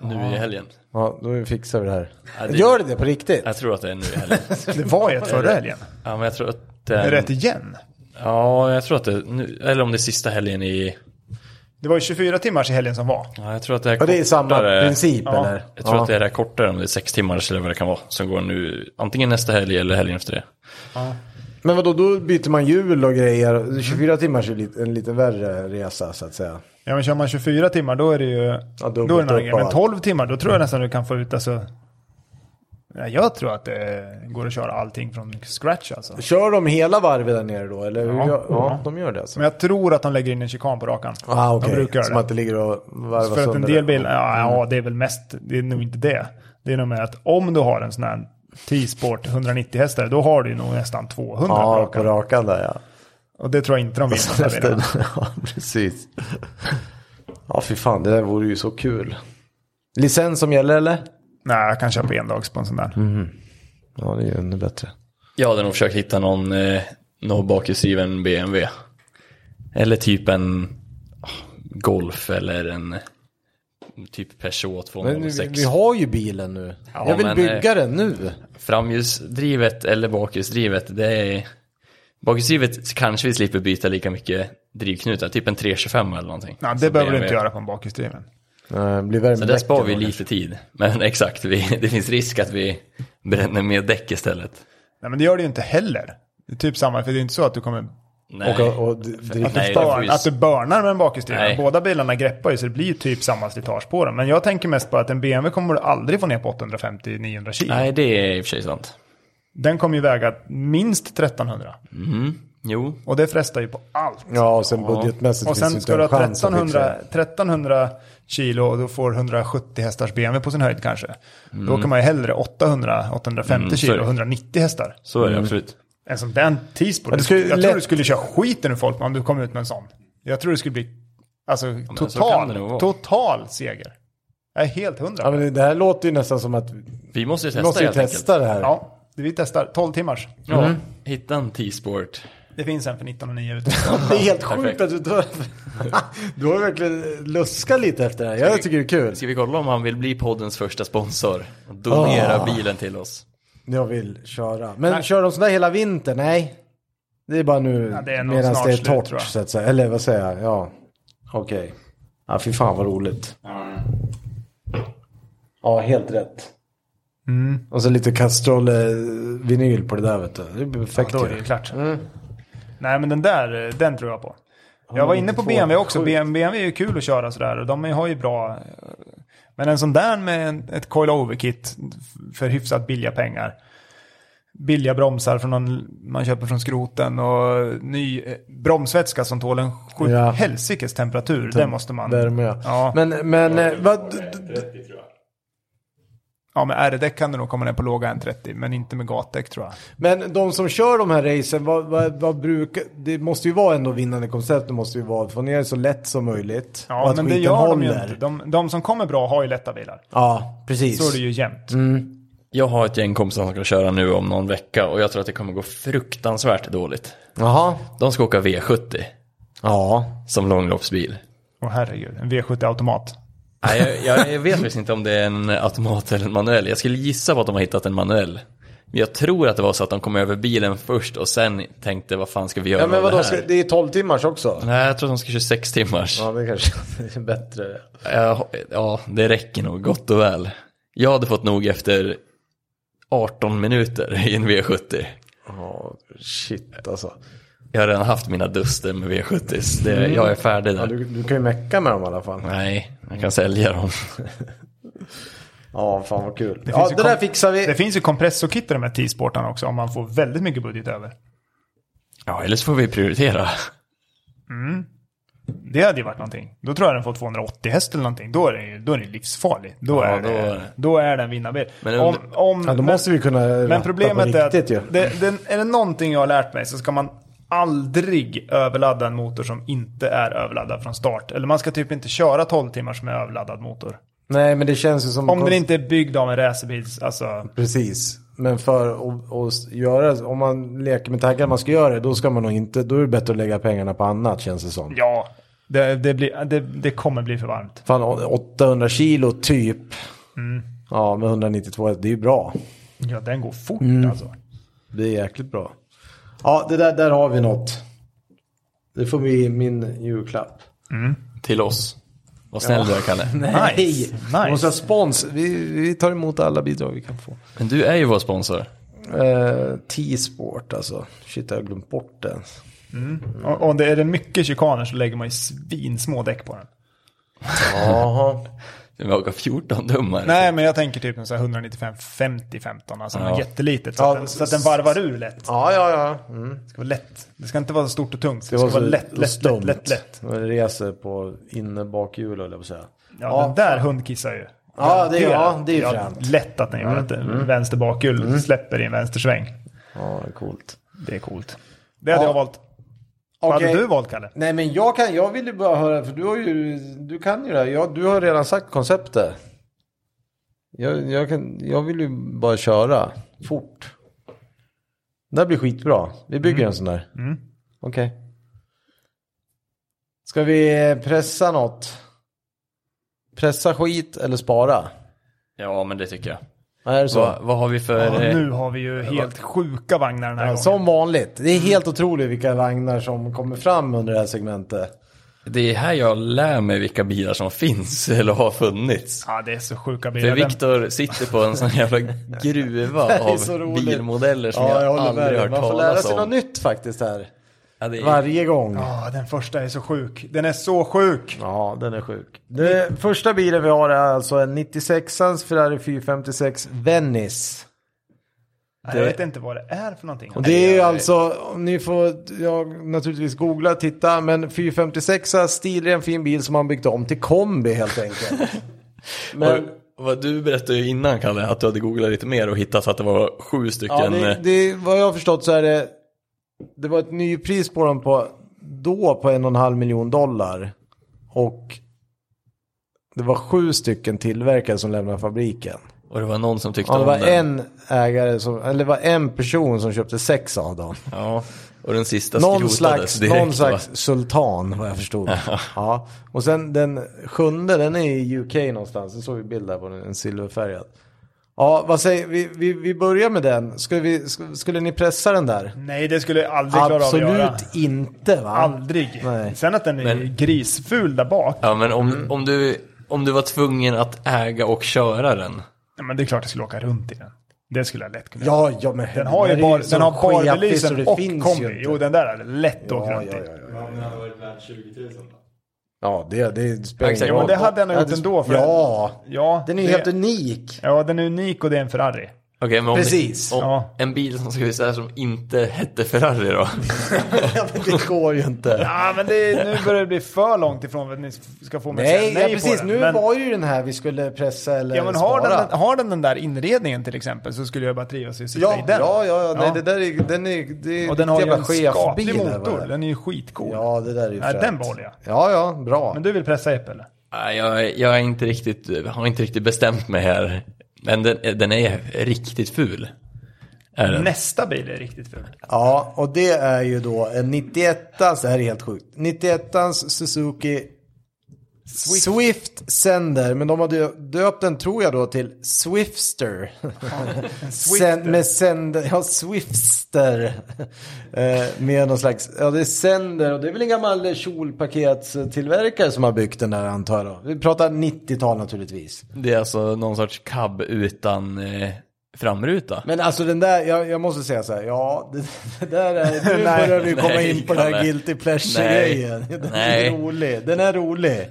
[SPEAKER 1] Nu i helgen.
[SPEAKER 3] Ja, då fixar vi det här.
[SPEAKER 1] Ja, det-
[SPEAKER 3] Gör det det på riktigt?
[SPEAKER 1] Jag tror att det är nu i helgen.
[SPEAKER 2] Det var ju ett förra helgen.
[SPEAKER 1] ja, men jag tror att...
[SPEAKER 2] Är
[SPEAKER 1] Den,
[SPEAKER 2] det rätt igen?
[SPEAKER 1] Ja, jag tror att det... Nu, eller om det är sista helgen i...
[SPEAKER 2] Det var ju 24 timmars i helgen som var.
[SPEAKER 1] Ja, jag tror att det är
[SPEAKER 3] Ja, det är samma
[SPEAKER 1] kortare-
[SPEAKER 3] princip
[SPEAKER 2] Ja.
[SPEAKER 3] eller?
[SPEAKER 1] Jag tror
[SPEAKER 3] ja.
[SPEAKER 1] att det är det här kortare, om det är sex timmar eller vad det kan vara, som går nu antingen nästa helg eller helgen efter det.
[SPEAKER 3] Men vadå, då byter man hjul och
[SPEAKER 2] Mm.
[SPEAKER 3] grejer. 24 timmar är lite, en lite värre resa så att säga.
[SPEAKER 2] Ja, men kör man 24 timmar då är det ju... då är
[SPEAKER 3] dubbelt
[SPEAKER 2] det en annan
[SPEAKER 3] upp
[SPEAKER 2] grej.
[SPEAKER 3] och
[SPEAKER 2] Men
[SPEAKER 3] allt.
[SPEAKER 2] 12 timmar, då tror jag nästan du kan få ut alltså... Ja, jag tror att det går att köra allting från scratch alltså.
[SPEAKER 3] Kör de hela varvet där nere då? Eller? Ja,
[SPEAKER 2] Ja.
[SPEAKER 3] ja,
[SPEAKER 2] Ja.
[SPEAKER 3] de gör det alltså.
[SPEAKER 2] Men jag tror att de lägger in en chikan på rakan.
[SPEAKER 3] Ah, okej.
[SPEAKER 2] De brukar
[SPEAKER 3] Som
[SPEAKER 2] göra
[SPEAKER 3] att
[SPEAKER 2] det.
[SPEAKER 3] det ligger och varvar
[SPEAKER 2] För att en
[SPEAKER 3] sönder
[SPEAKER 2] del
[SPEAKER 3] det. Mm.
[SPEAKER 2] bilar, ja, ja det är väl mest, det är nog inte det. Det är nog mer att om du har en sån här T-sport 190 hästar, då har du ju nog nästan 200 på
[SPEAKER 3] Ja, på
[SPEAKER 2] rakan.
[SPEAKER 3] rakan där ja.
[SPEAKER 2] Och det tror jag inte de vill. med de här bilarna.
[SPEAKER 3] ja, precis. Ja, fy fan, det där vore ju så kul. Licens som gäller eller?
[SPEAKER 2] Nej, jag kan köpa endags på en sån där.
[SPEAKER 3] Mm. Ja, det är ju ännu bättre.
[SPEAKER 1] Jag hade nog försökt hitta någon, eh, någon bakhjulsdriven BMW. Eller typ en ah, Golf eller en eh, typ Peugeot
[SPEAKER 3] Men vi,
[SPEAKER 1] 206.
[SPEAKER 3] vi har ju bilen nu.
[SPEAKER 1] Ja,
[SPEAKER 3] jag vill
[SPEAKER 1] men,
[SPEAKER 3] bygga
[SPEAKER 1] eh,
[SPEAKER 3] den nu.
[SPEAKER 1] Framhjulsdrivet eller bakhjulsdrivet, det är... Bakhjulsdrivet kanske vi slipper byta lika mycket drivknutar, typ en 325 eller någonting.
[SPEAKER 2] Nej, det
[SPEAKER 1] Som
[SPEAKER 2] behöver du inte
[SPEAKER 1] BMW.
[SPEAKER 2] göra på en bakhjulsdriven.
[SPEAKER 3] Eh, blir värme
[SPEAKER 1] Så där sparar vi lite tid. Men exakt, vi, det finns risk att vi bränner mer däck istället.
[SPEAKER 2] Nej, men det gör det ju inte heller. Det är typ samma, för det är inte så att du kommer...
[SPEAKER 1] Nej.
[SPEAKER 3] Och, och d- dricka.
[SPEAKER 1] Att Nej, det får
[SPEAKER 2] Bör,
[SPEAKER 1] ju-
[SPEAKER 2] att du börnar med en bakhjulsdriven.
[SPEAKER 1] Nej.
[SPEAKER 2] Båda bilarna greppar ju så det blir ju typ samma slitage på dem. Men jag tänker mest på att en BMW kommer du aldrig få ner på 850-900 kilo.
[SPEAKER 1] Nej, det är i och för sig sant.
[SPEAKER 2] Den kommer ju väga minst 1300.
[SPEAKER 1] Jo,
[SPEAKER 2] Och det frestar ju på allt.
[SPEAKER 3] Ja, och sen budgetmässigt
[SPEAKER 2] och
[SPEAKER 3] finns
[SPEAKER 2] sen
[SPEAKER 3] det
[SPEAKER 2] ska
[SPEAKER 3] inte
[SPEAKER 2] du
[SPEAKER 3] en
[SPEAKER 2] ha
[SPEAKER 3] chans att
[SPEAKER 2] 1300,
[SPEAKER 3] fixa.
[SPEAKER 2] 1300 kilo och då får 170 hästars BMW på sin höjd kanske.
[SPEAKER 3] Mm.
[SPEAKER 2] Då kan man ju hellre 800-850
[SPEAKER 1] så är
[SPEAKER 2] kilo,
[SPEAKER 1] det.
[SPEAKER 2] 190 hästar.
[SPEAKER 1] så är
[SPEAKER 3] Mm.
[SPEAKER 1] det absolut.
[SPEAKER 2] En sån där T-sport.
[SPEAKER 3] det skulle ju
[SPEAKER 2] jag
[SPEAKER 3] lätt-
[SPEAKER 2] tror du skulle köra skiten ur folk om du kom ut med en sån. Jag tror det skulle bli alltså,
[SPEAKER 1] så kan det nog
[SPEAKER 2] total,
[SPEAKER 1] vara.
[SPEAKER 2] total seger. Jag är helt hundra.
[SPEAKER 3] Ja,
[SPEAKER 2] Ja,
[SPEAKER 3] men det här låter ju nästan som att
[SPEAKER 1] Vi måste ju
[SPEAKER 3] vi
[SPEAKER 1] testa
[SPEAKER 3] måste ju
[SPEAKER 1] helt enkelt.
[SPEAKER 3] testa Mm. det här.
[SPEAKER 2] det vi testar. 12 timmars.
[SPEAKER 1] Ja, hitta en T-sport.
[SPEAKER 2] Det finns en för 19 och 9 ute.
[SPEAKER 3] Det är helt sjukt
[SPEAKER 1] Perfekt.
[SPEAKER 3] att du tar... Du har verkligen luskat lite efter det här. Jag tycker det är kul.
[SPEAKER 1] Ska vi kolla om han vill bli poddens första sponsor? Och donera
[SPEAKER 3] Ah.
[SPEAKER 1] bilen till oss.
[SPEAKER 3] Jag vill köra. Men kör de sådär hela vintern? Nej. Det är bara nu
[SPEAKER 2] Ja, det är nog
[SPEAKER 3] medan
[SPEAKER 2] snart
[SPEAKER 3] det är
[SPEAKER 2] slut,
[SPEAKER 3] torrt
[SPEAKER 2] tror jag.
[SPEAKER 3] så att säga. Eller vad säger jag? Ja. Okej. Ja, fy fan vad roligt. Ja, helt rätt.
[SPEAKER 2] Mm.
[SPEAKER 3] Och så lite kastrull-vinyl på det där vet du. Det blir perfekt
[SPEAKER 2] Då är det
[SPEAKER 3] ju. Mm.
[SPEAKER 2] ju klart. Nej, men den där, eh, den tror jag på. Jag var inne på
[SPEAKER 3] 192,
[SPEAKER 2] BMW också.
[SPEAKER 3] sjukt.
[SPEAKER 2] BMW är ju kul att köra sådär och de har ju bra... eh, Men en sån där med en, ett coil-over-kit för hyfsat billiga pengar. Billiga bromsar från någon man köper från skroten och ny eh, bromsvätska som tål en sju
[SPEAKER 3] Ja.
[SPEAKER 2] helsikes temperatur. Den måste man...
[SPEAKER 3] Där med.
[SPEAKER 2] Ja.
[SPEAKER 3] Men, men eh, vad... d- d-
[SPEAKER 2] Ja, med R-däck kan du nog komma ner på låga 1,30, men inte med gatdäck tror jag.
[SPEAKER 3] Men de som kör de här racen, vad, vad, vad brukar, det måste ju vara ändå vinnande koncept, det måste ju vara att få ner det så lätt som möjligt. och
[SPEAKER 2] Ja,
[SPEAKER 3] att
[SPEAKER 2] men det
[SPEAKER 3] skiten
[SPEAKER 2] gör de ju
[SPEAKER 3] håller.
[SPEAKER 2] inte. De, de som kommer bra har ju lätta bilar.
[SPEAKER 3] Ja, precis.
[SPEAKER 2] Så är det ju jämt.
[SPEAKER 1] Jag har ett gäng kompisar som ska köra nu om någon vecka och jag tror att det kommer gå fruktansvärt dåligt.
[SPEAKER 3] Jaha.
[SPEAKER 1] De ska åka V70
[SPEAKER 3] Ja.
[SPEAKER 1] som långloppsbil.
[SPEAKER 2] Åh herregud, en V70-automat.
[SPEAKER 1] Nej, jag, jag vet faktiskt inte om det är en automat eller en manuell. Jag skulle gissa på att de har hittat en manuell. Men jag tror att det var så att de kom över bilen först och sen tänkte vad fan ska vi göra
[SPEAKER 3] Ja, men
[SPEAKER 1] av
[SPEAKER 3] vadå,
[SPEAKER 1] det
[SPEAKER 3] ska,
[SPEAKER 1] här?
[SPEAKER 3] det är 12 timmars också?
[SPEAKER 1] Nej, jag tror att de ska köra sex timmars.
[SPEAKER 3] Ja, det kanske är bättre.
[SPEAKER 1] Ja. ja, det räcker nog gott och väl. Jag hade fått nog efter 18 minuter i en V70.
[SPEAKER 3] Ja, shit alltså.
[SPEAKER 1] Jag har redan haft mina duster med V70, så det, jag är färdig
[SPEAKER 3] Mm. Ja,
[SPEAKER 1] där.
[SPEAKER 3] du, du kan ju mecka med dem i alla fall.
[SPEAKER 1] Nej, jag kan sälja dem.
[SPEAKER 3] Ja, fan vad kul.
[SPEAKER 2] Det
[SPEAKER 3] ja,
[SPEAKER 2] finns ju
[SPEAKER 3] det där
[SPEAKER 2] kom-
[SPEAKER 3] fixar vi.
[SPEAKER 2] Det finns ju kompressorkit i de här T-sportarna också om man får väldigt mycket budget över.
[SPEAKER 1] Ja, eller så får vi prioritera.
[SPEAKER 2] Det hade ju varit någonting. Då tror jag den får 280 häst eller någonting. Då är den, ju- då är den livsfarlig. Då,
[SPEAKER 1] Ja,
[SPEAKER 2] är
[SPEAKER 1] då är
[SPEAKER 2] det,
[SPEAKER 1] det.
[SPEAKER 2] då är den en vinnarbil.
[SPEAKER 1] Men
[SPEAKER 2] om,
[SPEAKER 1] under-
[SPEAKER 2] om,
[SPEAKER 3] Ja, då måste vi kunna
[SPEAKER 2] men problemet är att
[SPEAKER 3] riktigt, ju.
[SPEAKER 2] det, den, är det någonting jag har lärt mig så ska man aldrig överladda en motor som inte är överladdad från start. Eller man ska typ inte köra 12 timmars med överladdad motor.
[SPEAKER 3] Nej, men det känns ju som...
[SPEAKER 2] Om den inte är byggd av en racerbils, alltså.
[SPEAKER 3] Precis. Men för att, att göra, om man leker med tankar att man ska göra det, då ska man nog inte, då är det bättre att lägga pengarna på annat känns det som.
[SPEAKER 2] Ja, det, det, blir, det, det kommer bli för varmt.
[SPEAKER 3] Fan, 800 kilo typ.
[SPEAKER 2] Mm.
[SPEAKER 3] Ja, med 192, det är ju bra.
[SPEAKER 2] Ja, den går fort alltså.
[SPEAKER 3] Det är jäkligt bra. Ja, det där, där har vi något. Det får bli min julklapp.
[SPEAKER 1] Till oss. Vad snäll du är, Kalle.
[SPEAKER 2] Nice.
[SPEAKER 3] Hej!
[SPEAKER 2] Nice.
[SPEAKER 3] Vi måste ha spons. Vi, vi tar emot alla bidrag vi kan få.
[SPEAKER 1] Men du är ju vår sponsor.
[SPEAKER 3] Eh, T-sport alltså. Shit, jag har glömt bort den.
[SPEAKER 2] Och, och det är det mycket chikaner så lägger man ju svinsmå däck på den.
[SPEAKER 3] Jaha.
[SPEAKER 1] Vi åker 14 dummar.
[SPEAKER 2] Nej, men jag tänker typ en sån här 195 50 15, alltså
[SPEAKER 1] Ja.
[SPEAKER 2] ja. jättelitet. Så,
[SPEAKER 3] Ja,
[SPEAKER 2] att den, så att den varvar ur lätt.
[SPEAKER 3] Ja, ja, ja. Mm.
[SPEAKER 2] Det ska vara lätt. Det ska inte vara så stort och tungt. Det, ska vara lätt, lätt, lätt, lätt, lätt.
[SPEAKER 3] Och det reser på innebakhjul, höll jag på att säga.
[SPEAKER 2] Ja, den där hundkissar ju.
[SPEAKER 3] Ja, det är- ja, det är ju
[SPEAKER 2] Ja,
[SPEAKER 3] fränt.
[SPEAKER 2] Lätt att den gör att mm. vänster bakhjul släpper i en vänstersväng.
[SPEAKER 3] Ja, det är coolt.
[SPEAKER 2] Det är coolt. Det hade
[SPEAKER 3] Ja.
[SPEAKER 2] jag valt. Vad
[SPEAKER 3] Okej.
[SPEAKER 2] hade du valt, Kalle?
[SPEAKER 3] Nej, men jag kan, jag vill ju bara höra, för du har ju, du kan ju det här. Jag, du har redan sagt konceptet. Jag, jag, kan, jag vill ju bara köra fort. Det här blir skitbra. Vi bygger en sån där.
[SPEAKER 2] Mm.
[SPEAKER 3] Okej. Ska vi pressa något? Pressa skit eller spara?
[SPEAKER 1] Ja, men det tycker jag.
[SPEAKER 3] Vad Är det så?
[SPEAKER 1] Vad, vad har vi för...
[SPEAKER 2] Ja,
[SPEAKER 1] eh,
[SPEAKER 2] nu har vi ju helt sjuka vagnar den här
[SPEAKER 3] Ja,
[SPEAKER 2] gången.
[SPEAKER 3] Som vanligt. Det är helt otroligt vilka vagnar som kommer fram under det här segmentet.
[SPEAKER 1] Det är här jag lär mig vilka bilar som finns eller har funnits.
[SPEAKER 2] Ja, det är så sjuka
[SPEAKER 1] För
[SPEAKER 2] bilar. Den-
[SPEAKER 1] Viktor sitter på en sån jävla gruva
[SPEAKER 3] är
[SPEAKER 1] av
[SPEAKER 3] så roligt.
[SPEAKER 1] bilmodeller som
[SPEAKER 3] Ja, jag
[SPEAKER 1] jag
[SPEAKER 3] håller med
[SPEAKER 1] aldrig
[SPEAKER 3] dig.
[SPEAKER 1] hört
[SPEAKER 3] Man får lära
[SPEAKER 1] talas
[SPEAKER 3] sig något
[SPEAKER 1] om.
[SPEAKER 3] nytt faktiskt här.
[SPEAKER 1] Ja, det är,
[SPEAKER 3] Varje gång.
[SPEAKER 2] Ja, den första är så sjuk. Den är så sjuk.
[SPEAKER 3] Ja, den är sjuk. Det, första bilen vi har är alltså en 96ans Ferrari 456 Venice.
[SPEAKER 2] Jag vet inte vad det är för någonting.
[SPEAKER 3] Och det är ju alltså, om ni får ja, naturligtvis googla, titta, men 456 stilren fin bil som man byggt om till kombi helt enkelt. Men,
[SPEAKER 1] vad, vad du berättade ju innan Kalle, att du hade googlat lite mer och hittat att det var sju stycken. eh,
[SPEAKER 3] ja, det, det, vad jag har förstått så är det, det var ett nypris på dem på, då på en och en halv miljon dollar. Och det var sju stycken tillverkare som lämnade fabriken.
[SPEAKER 1] Och det var någon som tyckte
[SPEAKER 3] Ja, det
[SPEAKER 1] om
[SPEAKER 3] var
[SPEAKER 1] den.
[SPEAKER 3] en ägare som, eller det var en person som köpte sex av dem.
[SPEAKER 1] Ja, och den sista
[SPEAKER 3] Någon
[SPEAKER 1] skrotades
[SPEAKER 3] slags,
[SPEAKER 1] direkt.
[SPEAKER 3] någon
[SPEAKER 1] va?
[SPEAKER 3] slags sultan vad jag förstod. ja. Och sen den sjunde, den är i UK någonstans. Det såg vi bild där på den, en silverfärgad. Ja, vad säger vi? Vi, vi börjar med den. Skulle, vi, sk- skulle ni pressa den där?
[SPEAKER 2] Nej, det skulle jag aldrig klara av att göra.
[SPEAKER 3] Absolut inte va?
[SPEAKER 2] Aldrig.
[SPEAKER 3] Nej.
[SPEAKER 2] Sen att den är grisful där bak.
[SPEAKER 1] Ja, men om,
[SPEAKER 3] Mm.
[SPEAKER 1] om, du, om du var tvungen att äga och köra den.
[SPEAKER 2] Ja, men det är klart jag skulle åka runt i den. Det skulle jag lätt kunna göra.
[SPEAKER 3] Ja, ja men
[SPEAKER 2] Den har ju
[SPEAKER 3] här är
[SPEAKER 2] bara,
[SPEAKER 3] så
[SPEAKER 2] den har
[SPEAKER 3] sketig så
[SPEAKER 2] barbelysen och
[SPEAKER 3] finns ju
[SPEAKER 2] kombi.
[SPEAKER 3] inte.
[SPEAKER 2] Jo, den där hade lätt åkt
[SPEAKER 3] Ja,
[SPEAKER 2] runt
[SPEAKER 3] ja,
[SPEAKER 2] i.
[SPEAKER 3] ja, ja. Ja, det, det spelar
[SPEAKER 1] Exakt. Ja,
[SPEAKER 3] ingen
[SPEAKER 1] men
[SPEAKER 3] roll.
[SPEAKER 2] det hade jag nog
[SPEAKER 3] Ja,
[SPEAKER 2] gjort
[SPEAKER 3] det-
[SPEAKER 2] ändå, för-
[SPEAKER 3] Ja,
[SPEAKER 2] Ja,
[SPEAKER 3] den är ju
[SPEAKER 2] det-
[SPEAKER 3] helt unik.
[SPEAKER 2] Ja, den är unik och det är en Ferrari.
[SPEAKER 1] Okej, men om,
[SPEAKER 3] Precis,
[SPEAKER 1] om
[SPEAKER 2] ja.
[SPEAKER 1] en bil som ska ut så här som inte hette Ferrari då?
[SPEAKER 3] Ja, men det går ju inte.
[SPEAKER 2] Ja, men det, nu börjar det bli för långt ifrån att ni ska få mig att
[SPEAKER 3] Nej,
[SPEAKER 2] säga
[SPEAKER 3] ja,
[SPEAKER 2] nej på
[SPEAKER 3] precis.
[SPEAKER 2] den.
[SPEAKER 3] Nu
[SPEAKER 2] men,
[SPEAKER 3] var ju den här vi skulle pressa eller
[SPEAKER 2] ja, men har,
[SPEAKER 3] spara.
[SPEAKER 2] den, har den den där inredningen till exempel så skulle jag bara trivas i att sitta
[SPEAKER 3] Ja,
[SPEAKER 2] i den.
[SPEAKER 3] ja, ja, ja, nej
[SPEAKER 2] Ja.
[SPEAKER 3] det där är, den är, det är
[SPEAKER 2] Och den har ju
[SPEAKER 3] jävla
[SPEAKER 2] en
[SPEAKER 3] chefbil
[SPEAKER 2] skaplig
[SPEAKER 3] här, va?
[SPEAKER 2] motor. Den är ju skitcool.
[SPEAKER 3] Ja, det där är ju
[SPEAKER 2] Nej,
[SPEAKER 3] fränt.
[SPEAKER 2] den behåller jag.
[SPEAKER 3] Ja, ja, bra.
[SPEAKER 2] Men du vill pressa Epp eller?
[SPEAKER 1] Nej, Jag, jag är inte riktigt, har inte riktigt bestämt mig här. Men den, den är riktigt ful. Är den.
[SPEAKER 2] Nästa bil är riktigt ful.
[SPEAKER 3] Ja, och det är ju då en 91ans, det här är helt sjukt, 91ans Suzuki Swift. Sender, men de har dö- döpt den tror jag då till Swifster. Sen, med Sender, ja Swifster. Eh, med någon slags, ja det är Sender och det är väl en gammal kjolpaketstillverkare som har byggt den där antar jag då. Vi pratar 90-tal naturligtvis.
[SPEAKER 1] Det är alltså någon sorts cab utan eh, framruta.
[SPEAKER 3] Men alltså den där, jag, jag måste säga så här, ja, det, det där är, nu
[SPEAKER 2] Nej,
[SPEAKER 3] börjar vi komma
[SPEAKER 1] nej,
[SPEAKER 3] in på den här
[SPEAKER 1] Kalle.
[SPEAKER 3] guilty pleasure-grejen.
[SPEAKER 1] Nej,
[SPEAKER 3] Den
[SPEAKER 1] nej.
[SPEAKER 3] är rolig, den är rolig.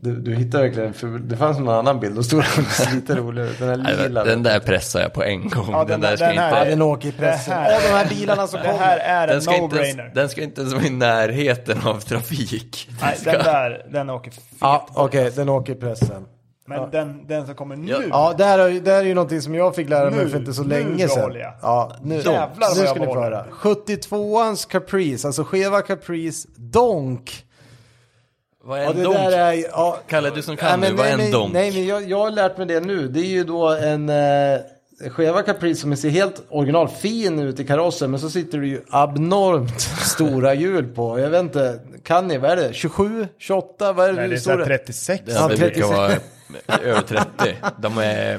[SPEAKER 3] Du, du hittar verkligen, för det fanns någon annan bild, då stod den lite roligare ut, den
[SPEAKER 1] Nej,
[SPEAKER 3] här lila.
[SPEAKER 1] den där pressar jag på en gång.
[SPEAKER 2] Ja,
[SPEAKER 1] den,
[SPEAKER 2] den-
[SPEAKER 1] där ska
[SPEAKER 2] den
[SPEAKER 1] inte,
[SPEAKER 3] ja,
[SPEAKER 2] här-
[SPEAKER 3] den åker i pressen.
[SPEAKER 2] Det här-
[SPEAKER 3] Av de här bilarna som
[SPEAKER 2] Det här
[SPEAKER 3] kommer.
[SPEAKER 2] är en
[SPEAKER 1] den, ska inte ens,
[SPEAKER 2] no-brainer.
[SPEAKER 1] den ska inte ens vara i närheten av trafik.
[SPEAKER 2] Nej, den där, den åker fet.
[SPEAKER 3] Ja, okej, den åker i pressen.
[SPEAKER 2] Men den, den som kommer nu.
[SPEAKER 3] Ja, det här, är ju- det här är ju någonting som jag fick lära mig
[SPEAKER 2] Nu-
[SPEAKER 3] för inte så
[SPEAKER 2] nu
[SPEAKER 3] länge sedan.
[SPEAKER 2] behåller jag.
[SPEAKER 3] Ja, nu,
[SPEAKER 2] Jävlar vad
[SPEAKER 3] nu
[SPEAKER 2] jag
[SPEAKER 3] ska ni få
[SPEAKER 2] behåller.
[SPEAKER 3] höra. 72ans Caprice, alltså skeva Caprice Donk.
[SPEAKER 1] Vad är
[SPEAKER 3] Ja,
[SPEAKER 1] en
[SPEAKER 3] det
[SPEAKER 1] donk?
[SPEAKER 3] där är, ja,
[SPEAKER 1] Kalle, du som kan
[SPEAKER 3] Ja,
[SPEAKER 1] nu, vad är en
[SPEAKER 3] nej,
[SPEAKER 1] donk?
[SPEAKER 3] Nej, men jag, jag har lärt mig det nu. Det är ju då en eh, skeva Caprice som ser helt original fin ut i karossen. Men så sitter det ju abnormt stora hjul på. Jag vet inte, kan ni, vad är det? 27? 28? Vad är det?
[SPEAKER 2] Nej,
[SPEAKER 3] hur
[SPEAKER 2] det är
[SPEAKER 3] stora?
[SPEAKER 2] såhär 36.
[SPEAKER 1] Det
[SPEAKER 3] Ja,
[SPEAKER 1] brukar
[SPEAKER 3] 36.
[SPEAKER 1] vara över 30. De är...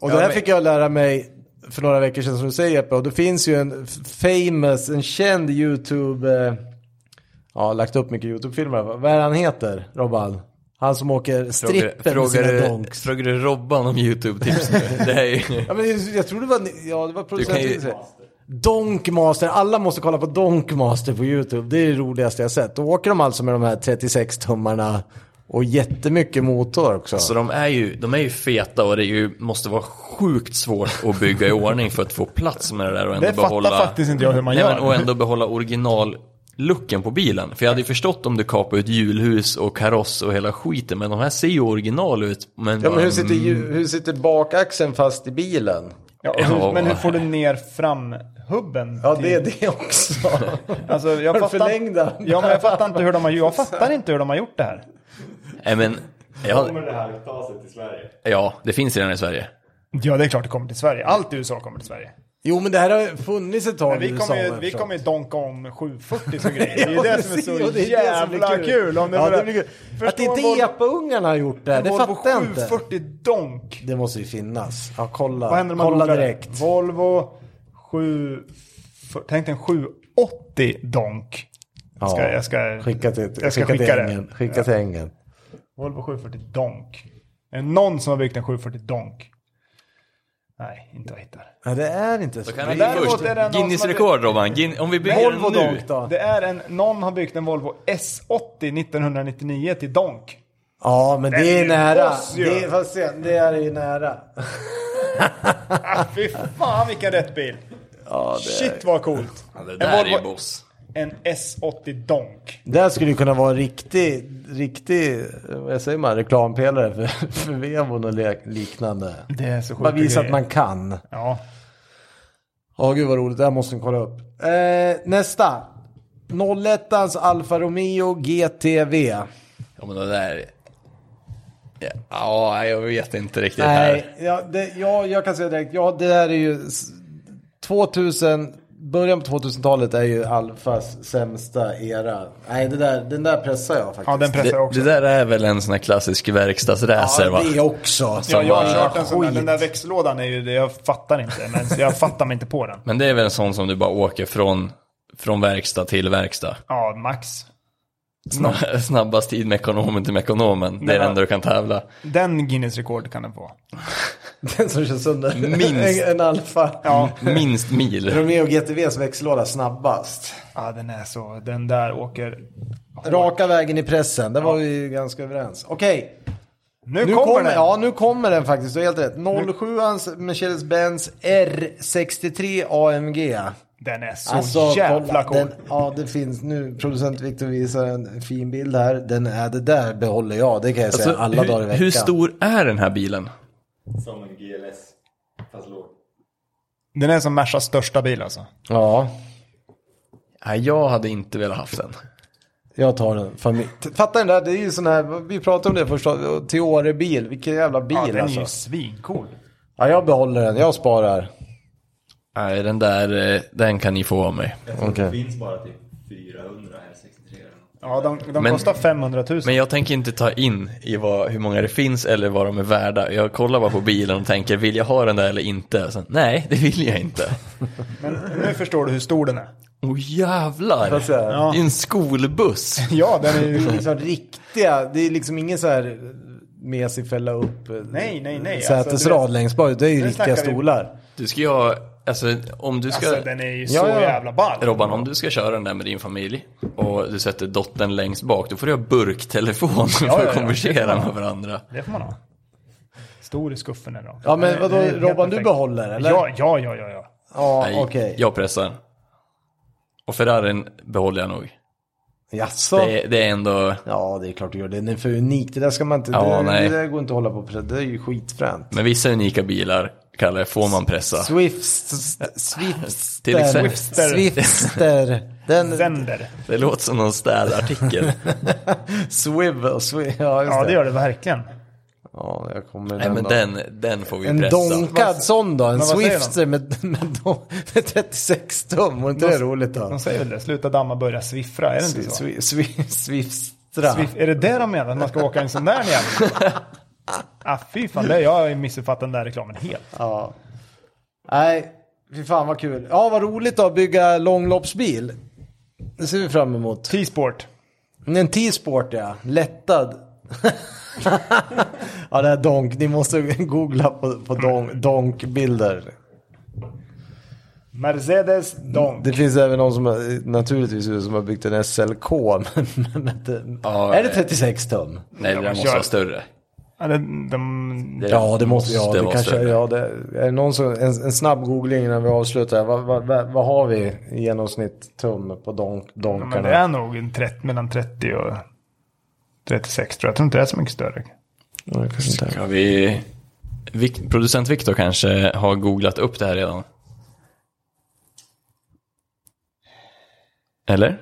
[SPEAKER 3] Och det här
[SPEAKER 2] Ja, men-
[SPEAKER 3] fick jag lära mig för några veckor sedan som du säger Jeppe. Och det finns ju en f- famous, en känd YouTube... Eh, ja, har lagt upp mycket YouTube-filmer. Vad är han heter, Robban? Han som åker
[SPEAKER 1] Frågar,
[SPEAKER 3] strippen med
[SPEAKER 1] frågar,
[SPEAKER 3] sina
[SPEAKER 1] du,
[SPEAKER 3] donks.
[SPEAKER 1] frågar du Robban om YouTube-tips nu? Det är ju...
[SPEAKER 3] Ja, men jag- jag tror det var, ja, det var producenten.
[SPEAKER 1] Du kan ju-
[SPEAKER 3] Donkmaster, alla måste kolla på Donkmaster på YouTube. Det är det roligaste jag sett. Då åker de alltså med de här 36 tummarna och jättemycket motor också.
[SPEAKER 1] Så de är, ju, de är ju feta och det är ju, måste vara sjukt svårt att bygga i ordning för att få plats med det där och ändå
[SPEAKER 2] Det fattar
[SPEAKER 1] behålla...
[SPEAKER 2] faktiskt inte jag hur man
[SPEAKER 1] Nej, men,
[SPEAKER 2] gör.
[SPEAKER 1] och ändå behålla originallooken på bilen. För jag hade ju förstått om du kapar ut julhus och kaross och hela skiten, men de här ser ju original ut. Men
[SPEAKER 3] Ja, men
[SPEAKER 1] bara- Mm.
[SPEAKER 3] hur sitter, ju- hur sitter bakaxeln fast i bilen?
[SPEAKER 2] Ja, och hur,
[SPEAKER 1] Ja.
[SPEAKER 2] Men hur får du ner framhubben?
[SPEAKER 3] Ja,
[SPEAKER 2] till-
[SPEAKER 3] det är det också.
[SPEAKER 2] Alltså, jag
[SPEAKER 3] Har du
[SPEAKER 2] fattar,
[SPEAKER 3] förlängda?
[SPEAKER 2] Ja, men jag fattar inte hur de har, jag fattar inte hur de har gjort det här.
[SPEAKER 1] Nej, men... Ja,
[SPEAKER 4] Kommer det här att ta sig till Sverige?
[SPEAKER 1] ja, det finns redan i Sverige.
[SPEAKER 2] Ja, det är klart det kommer till Sverige. Allt i USA kommer till Sverige.
[SPEAKER 3] Jo, men det här har funnits ett tag
[SPEAKER 2] Men vi kommer ju, vi kommer ju donka om 740 som grejer. Det är ju det som är
[SPEAKER 3] Ja,
[SPEAKER 2] så
[SPEAKER 3] precis, och det är det som blir
[SPEAKER 2] jävla kul. om det
[SPEAKER 3] ja,
[SPEAKER 2] börjar-
[SPEAKER 3] det blir kul. Att
[SPEAKER 2] Förstå
[SPEAKER 3] inte
[SPEAKER 2] en Vol-
[SPEAKER 3] EPA-ungarna har gjort det,
[SPEAKER 2] en
[SPEAKER 3] det
[SPEAKER 2] Volvo
[SPEAKER 3] fattar jag inte.
[SPEAKER 2] 740 donk.
[SPEAKER 3] Det måste ju finnas. Ja, kolla.
[SPEAKER 2] Vad händer om man
[SPEAKER 3] kolla
[SPEAKER 2] googlar det?
[SPEAKER 3] direkt.
[SPEAKER 2] Volvo 7... för- Tänk dig en 780 donk. Jag ska, jag ska,
[SPEAKER 3] Skicka till,
[SPEAKER 2] jag ska skicka,
[SPEAKER 3] till
[SPEAKER 2] det.
[SPEAKER 3] ängen. Skicka till ängen.
[SPEAKER 2] Volvo 740 donk. Är det någon som har byggt en 740 donk? Nej, inte jag hittar.
[SPEAKER 3] Nej, det är inte så.
[SPEAKER 1] Då kan
[SPEAKER 3] Men
[SPEAKER 1] han bli
[SPEAKER 2] däremot
[SPEAKER 1] först.
[SPEAKER 2] är det någon som
[SPEAKER 1] Guinness
[SPEAKER 2] har-
[SPEAKER 1] rekord Robban. Gin- Om vi bygger
[SPEAKER 3] Volvo
[SPEAKER 1] den nu.
[SPEAKER 3] Donk då?
[SPEAKER 2] Det är en, någon har byggt en Volvo S80 1999 till donk.
[SPEAKER 3] Ja, men det är
[SPEAKER 2] Den är
[SPEAKER 3] nära.
[SPEAKER 2] oss ju.
[SPEAKER 3] Det är, fast se, det är ju nära.
[SPEAKER 2] Ah, fy fan vilken rätt bil! Shit vad coolt!
[SPEAKER 1] Ja, det
[SPEAKER 2] En
[SPEAKER 1] där är ju
[SPEAKER 2] Volvo-
[SPEAKER 1] boss.
[SPEAKER 2] En S80 donk.
[SPEAKER 3] Det här skulle ju kunna vara en riktig, riktig, eh, vad säger man, reklampelare för, för Vevon och le- liknande.
[SPEAKER 2] Det är så sjukt.
[SPEAKER 3] Bara visa att man kan.
[SPEAKER 2] Ja.
[SPEAKER 3] Ja, gud vad roligt. Det här måste ni kolla upp. Eh, nästa. 01ans Alfa Romeo GTV.
[SPEAKER 1] Ja, men det där... Ja, ja, jag vet inte riktigt här.
[SPEAKER 3] Nej, ja, det, ja, jag kan säga direkt. Ja, det där är ju... s- 2000, början på 2000-talet är ju Alfas sämsta era. Nej, det där, den där pressar jag faktiskt.
[SPEAKER 2] ja, den pressar jag
[SPEAKER 1] Det,
[SPEAKER 2] också.
[SPEAKER 1] det där är väl en sån här klassisk verkstadsracer va?
[SPEAKER 3] ja, det också.
[SPEAKER 2] ja, jag har
[SPEAKER 1] var-
[SPEAKER 2] kört en sån där.
[SPEAKER 3] Skit.
[SPEAKER 2] Den där växellådan är ju det, jag fattar inte. Men jag fattar mig inte på den.
[SPEAKER 1] Men det är väl en sån som du bara åker från, från verkstad till verkstad?
[SPEAKER 2] Ja, max.
[SPEAKER 1] Snabb- Snabbast tid med ekonomen till ekonomen. Det är det
[SPEAKER 2] men-
[SPEAKER 1] enda du kan tävla.
[SPEAKER 2] Den Guinness rekord kan den få.
[SPEAKER 3] Den som kör sönder
[SPEAKER 1] Minst.
[SPEAKER 3] en, en Alfa.
[SPEAKER 2] Ja.
[SPEAKER 1] Minst mil.
[SPEAKER 3] Romeo GTVs växellåda snabbast.
[SPEAKER 2] ja, den är så. Den där åker...
[SPEAKER 3] Raka vägen i pressen, där var vi ju ganska överens. Okej,
[SPEAKER 2] Nu,
[SPEAKER 3] Nu
[SPEAKER 2] kommer
[SPEAKER 3] kommer,
[SPEAKER 2] den!
[SPEAKER 3] ja, nu kommer den faktiskt. Du har helt rätt. 07ans Mercedes-Benz R63 AMG.
[SPEAKER 2] Den är så jävla cool.
[SPEAKER 3] Alltså, den, Ja, det finns. Nu producent Victor visar en fin bild här. Den är det där behåller jag. Det kan jag säga alla
[SPEAKER 1] Alltså, hur,
[SPEAKER 3] dagar i veckan.
[SPEAKER 1] hur stor är den här bilen?
[SPEAKER 4] Som en GLS. Fast låg.
[SPEAKER 2] Den är som Mersas största bil alltså.
[SPEAKER 3] Ja,
[SPEAKER 1] Nej, jag hade inte velat haft den.
[SPEAKER 3] jag tar den. Familj. Fatta den där. Det är ju sån här. Vi pratade om det först. Teore bil. Vilken jävla bil
[SPEAKER 2] Ja, den är
[SPEAKER 3] alltså.
[SPEAKER 2] ju svincool.
[SPEAKER 3] Ja, jag behåller den. Jag sparar.
[SPEAKER 1] Nej, den där, eh, den kan ni få av mig.
[SPEAKER 4] Jag tror
[SPEAKER 3] Okej.
[SPEAKER 4] det finns bara typ 400 här 63 eller något.
[SPEAKER 2] Ja, de, de
[SPEAKER 1] Men-
[SPEAKER 2] kostar 500 000.
[SPEAKER 1] Men jag tänker inte ta in i vad, hur många det finns eller vad de är värda. Jag kollar bara på bilen och tänker, vill jag ha den där eller inte? Sen, Nej, det vill jag inte.
[SPEAKER 2] Men nu förstår du hur stor den är.
[SPEAKER 1] Åh jävlar!
[SPEAKER 3] Får jag säga?
[SPEAKER 1] Det är en skolbuss.
[SPEAKER 2] Ja, den är
[SPEAKER 3] Det är
[SPEAKER 2] ju...
[SPEAKER 3] liksom riktiga, det är liksom ingen så här mesig fälla upp eh,
[SPEAKER 2] Nej, nej, nej.
[SPEAKER 3] sätesrad
[SPEAKER 2] Alltså, du vet-
[SPEAKER 3] längst bak. Det är ju
[SPEAKER 2] Nu
[SPEAKER 3] riktiga
[SPEAKER 2] snackar vi-
[SPEAKER 3] stolar.
[SPEAKER 1] Du ska ju ha, alltså om du ska...
[SPEAKER 2] Alltså, den är ju så
[SPEAKER 3] liksom. Ja, ja.
[SPEAKER 2] jävla ball.
[SPEAKER 1] Robban, om du ska köra den där med din familj och du sätter dottern längst bak, då får du ha burktelefon för
[SPEAKER 2] ja,
[SPEAKER 1] att
[SPEAKER 2] ja.
[SPEAKER 1] konversera med varandra.
[SPEAKER 2] Det får man ha. Stor i skuffen är den.
[SPEAKER 3] Ja, men
[SPEAKER 2] Den är-
[SPEAKER 3] vadå,
[SPEAKER 2] den är eh, helt
[SPEAKER 3] Robban, du
[SPEAKER 2] perfekt.
[SPEAKER 3] behåller, eller?
[SPEAKER 2] Ja, ja, ja, ja. ja.
[SPEAKER 3] Ja,
[SPEAKER 1] Nej,
[SPEAKER 3] okej.
[SPEAKER 1] jag pressar. Och Ferrarin behåller jag nog.
[SPEAKER 3] Jaså?
[SPEAKER 1] Det, är- det är ändå...
[SPEAKER 3] Ja, det är klart du gör det. Den är för unik. Det där ska man inte...
[SPEAKER 1] Ja,
[SPEAKER 3] det,
[SPEAKER 1] nej.
[SPEAKER 3] det där går inte att hålla på och Det är ju skitfränt.
[SPEAKER 1] Men vissa unika bilar, Kalle, får man pressa.
[SPEAKER 3] Swift... Swifter.
[SPEAKER 1] Till exempel-
[SPEAKER 3] Swifter. Swifter. Den...
[SPEAKER 2] Zender.
[SPEAKER 1] Det låter som någon städartikel.
[SPEAKER 3] Swivel. Swi- ja, just
[SPEAKER 2] Ja, det
[SPEAKER 3] det.
[SPEAKER 2] gör det verkligen.
[SPEAKER 3] Ja, jag kommer
[SPEAKER 1] Nej, men
[SPEAKER 3] då.
[SPEAKER 1] den, den får vi
[SPEAKER 3] En
[SPEAKER 1] pressa.
[SPEAKER 3] donkad sån då? En
[SPEAKER 2] vad säger
[SPEAKER 3] Swifter med, med, don- med 36 tum? Vore inte det roligt då?
[SPEAKER 2] De säger väl det, sluta damma, börja sviffra, är det inte så?
[SPEAKER 3] Swi- swi- Swiftra.
[SPEAKER 2] Swift, är det det de menar, att man ska åka i en sån där igen? Ah, fy fan, det, jag har ju missuppfattat den där reklamen helt.
[SPEAKER 3] Ja. Nej, fy fan vad kul. Ja, vad roligt då att bygga långloppsbil. Det ser vi fram emot.
[SPEAKER 2] T-sport.
[SPEAKER 3] Mm, En T-sport ja, lättad. ja, det här donk, ni måste googla på, på donk, donkbilder.
[SPEAKER 2] Mercedes Donk.
[SPEAKER 3] Mm, Det finns även någon som har, naturligtvis som har byggt en SLK. Men, men, inte-
[SPEAKER 1] Ja,
[SPEAKER 3] är det 36 tum?
[SPEAKER 1] Nej, den
[SPEAKER 2] men
[SPEAKER 1] måste
[SPEAKER 2] kör.
[SPEAKER 1] vara större.
[SPEAKER 2] Ja, de, de,
[SPEAKER 1] Det
[SPEAKER 3] Ja, det måste, ja, det
[SPEAKER 1] vara
[SPEAKER 3] kanske,
[SPEAKER 1] större.
[SPEAKER 3] ja, det, är det någon som, en, en snabb googling innan vi avslutar. Vad, vad, vad, vad har vi i genomsnitt tum på donk,
[SPEAKER 2] ja, men
[SPEAKER 3] donkarna?
[SPEAKER 2] det är nog en 30, mellan 30 och 36 tror jag. Jag tror inte det är så mycket större.
[SPEAKER 3] Ja, det kanske inte är.
[SPEAKER 1] Ska vi... Vic, producent Viktor kanske har googlat upp det här redan. Eller?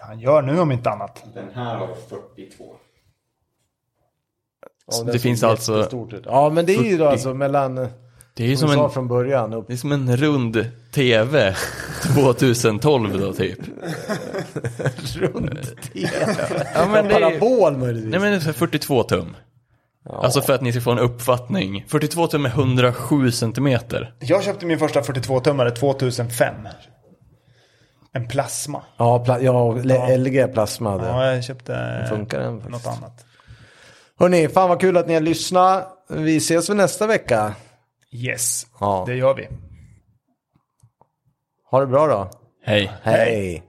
[SPEAKER 2] Han gör nu om inte annat.
[SPEAKER 4] Den här har 42.
[SPEAKER 3] Ja,
[SPEAKER 1] det
[SPEAKER 3] ser
[SPEAKER 1] finns alltså-
[SPEAKER 3] jättestort ut. Ja, men det är ju då
[SPEAKER 1] 40.
[SPEAKER 3] alltså mellan... Som
[SPEAKER 1] Det är ju
[SPEAKER 3] som
[SPEAKER 1] som
[SPEAKER 3] vi sa
[SPEAKER 1] en,
[SPEAKER 3] från början. Upp.
[SPEAKER 1] det är som en rund TV 2012 då typ. Ja, men
[SPEAKER 3] en
[SPEAKER 1] det är ju,
[SPEAKER 3] parabol möjligtvis.
[SPEAKER 1] nej men det är 42 tum. Alltså för att ni ska få en uppfattning. 42 tum är 107 centimeter.
[SPEAKER 2] Jag köpte min första 42-tummare 2005. En plasma.
[SPEAKER 3] Ja, pla- ja, le- LG plasma hade.
[SPEAKER 2] Ja, jag köpte
[SPEAKER 3] Funkar den faktiskt.
[SPEAKER 2] något annat.
[SPEAKER 3] Hörni, fan vad kul att ni har lyssnat. Vi ses väl nästa vecka.
[SPEAKER 2] Yes,
[SPEAKER 3] Ja.
[SPEAKER 2] det gör vi.
[SPEAKER 3] Ha det bra då.
[SPEAKER 1] Hej.
[SPEAKER 3] Hej.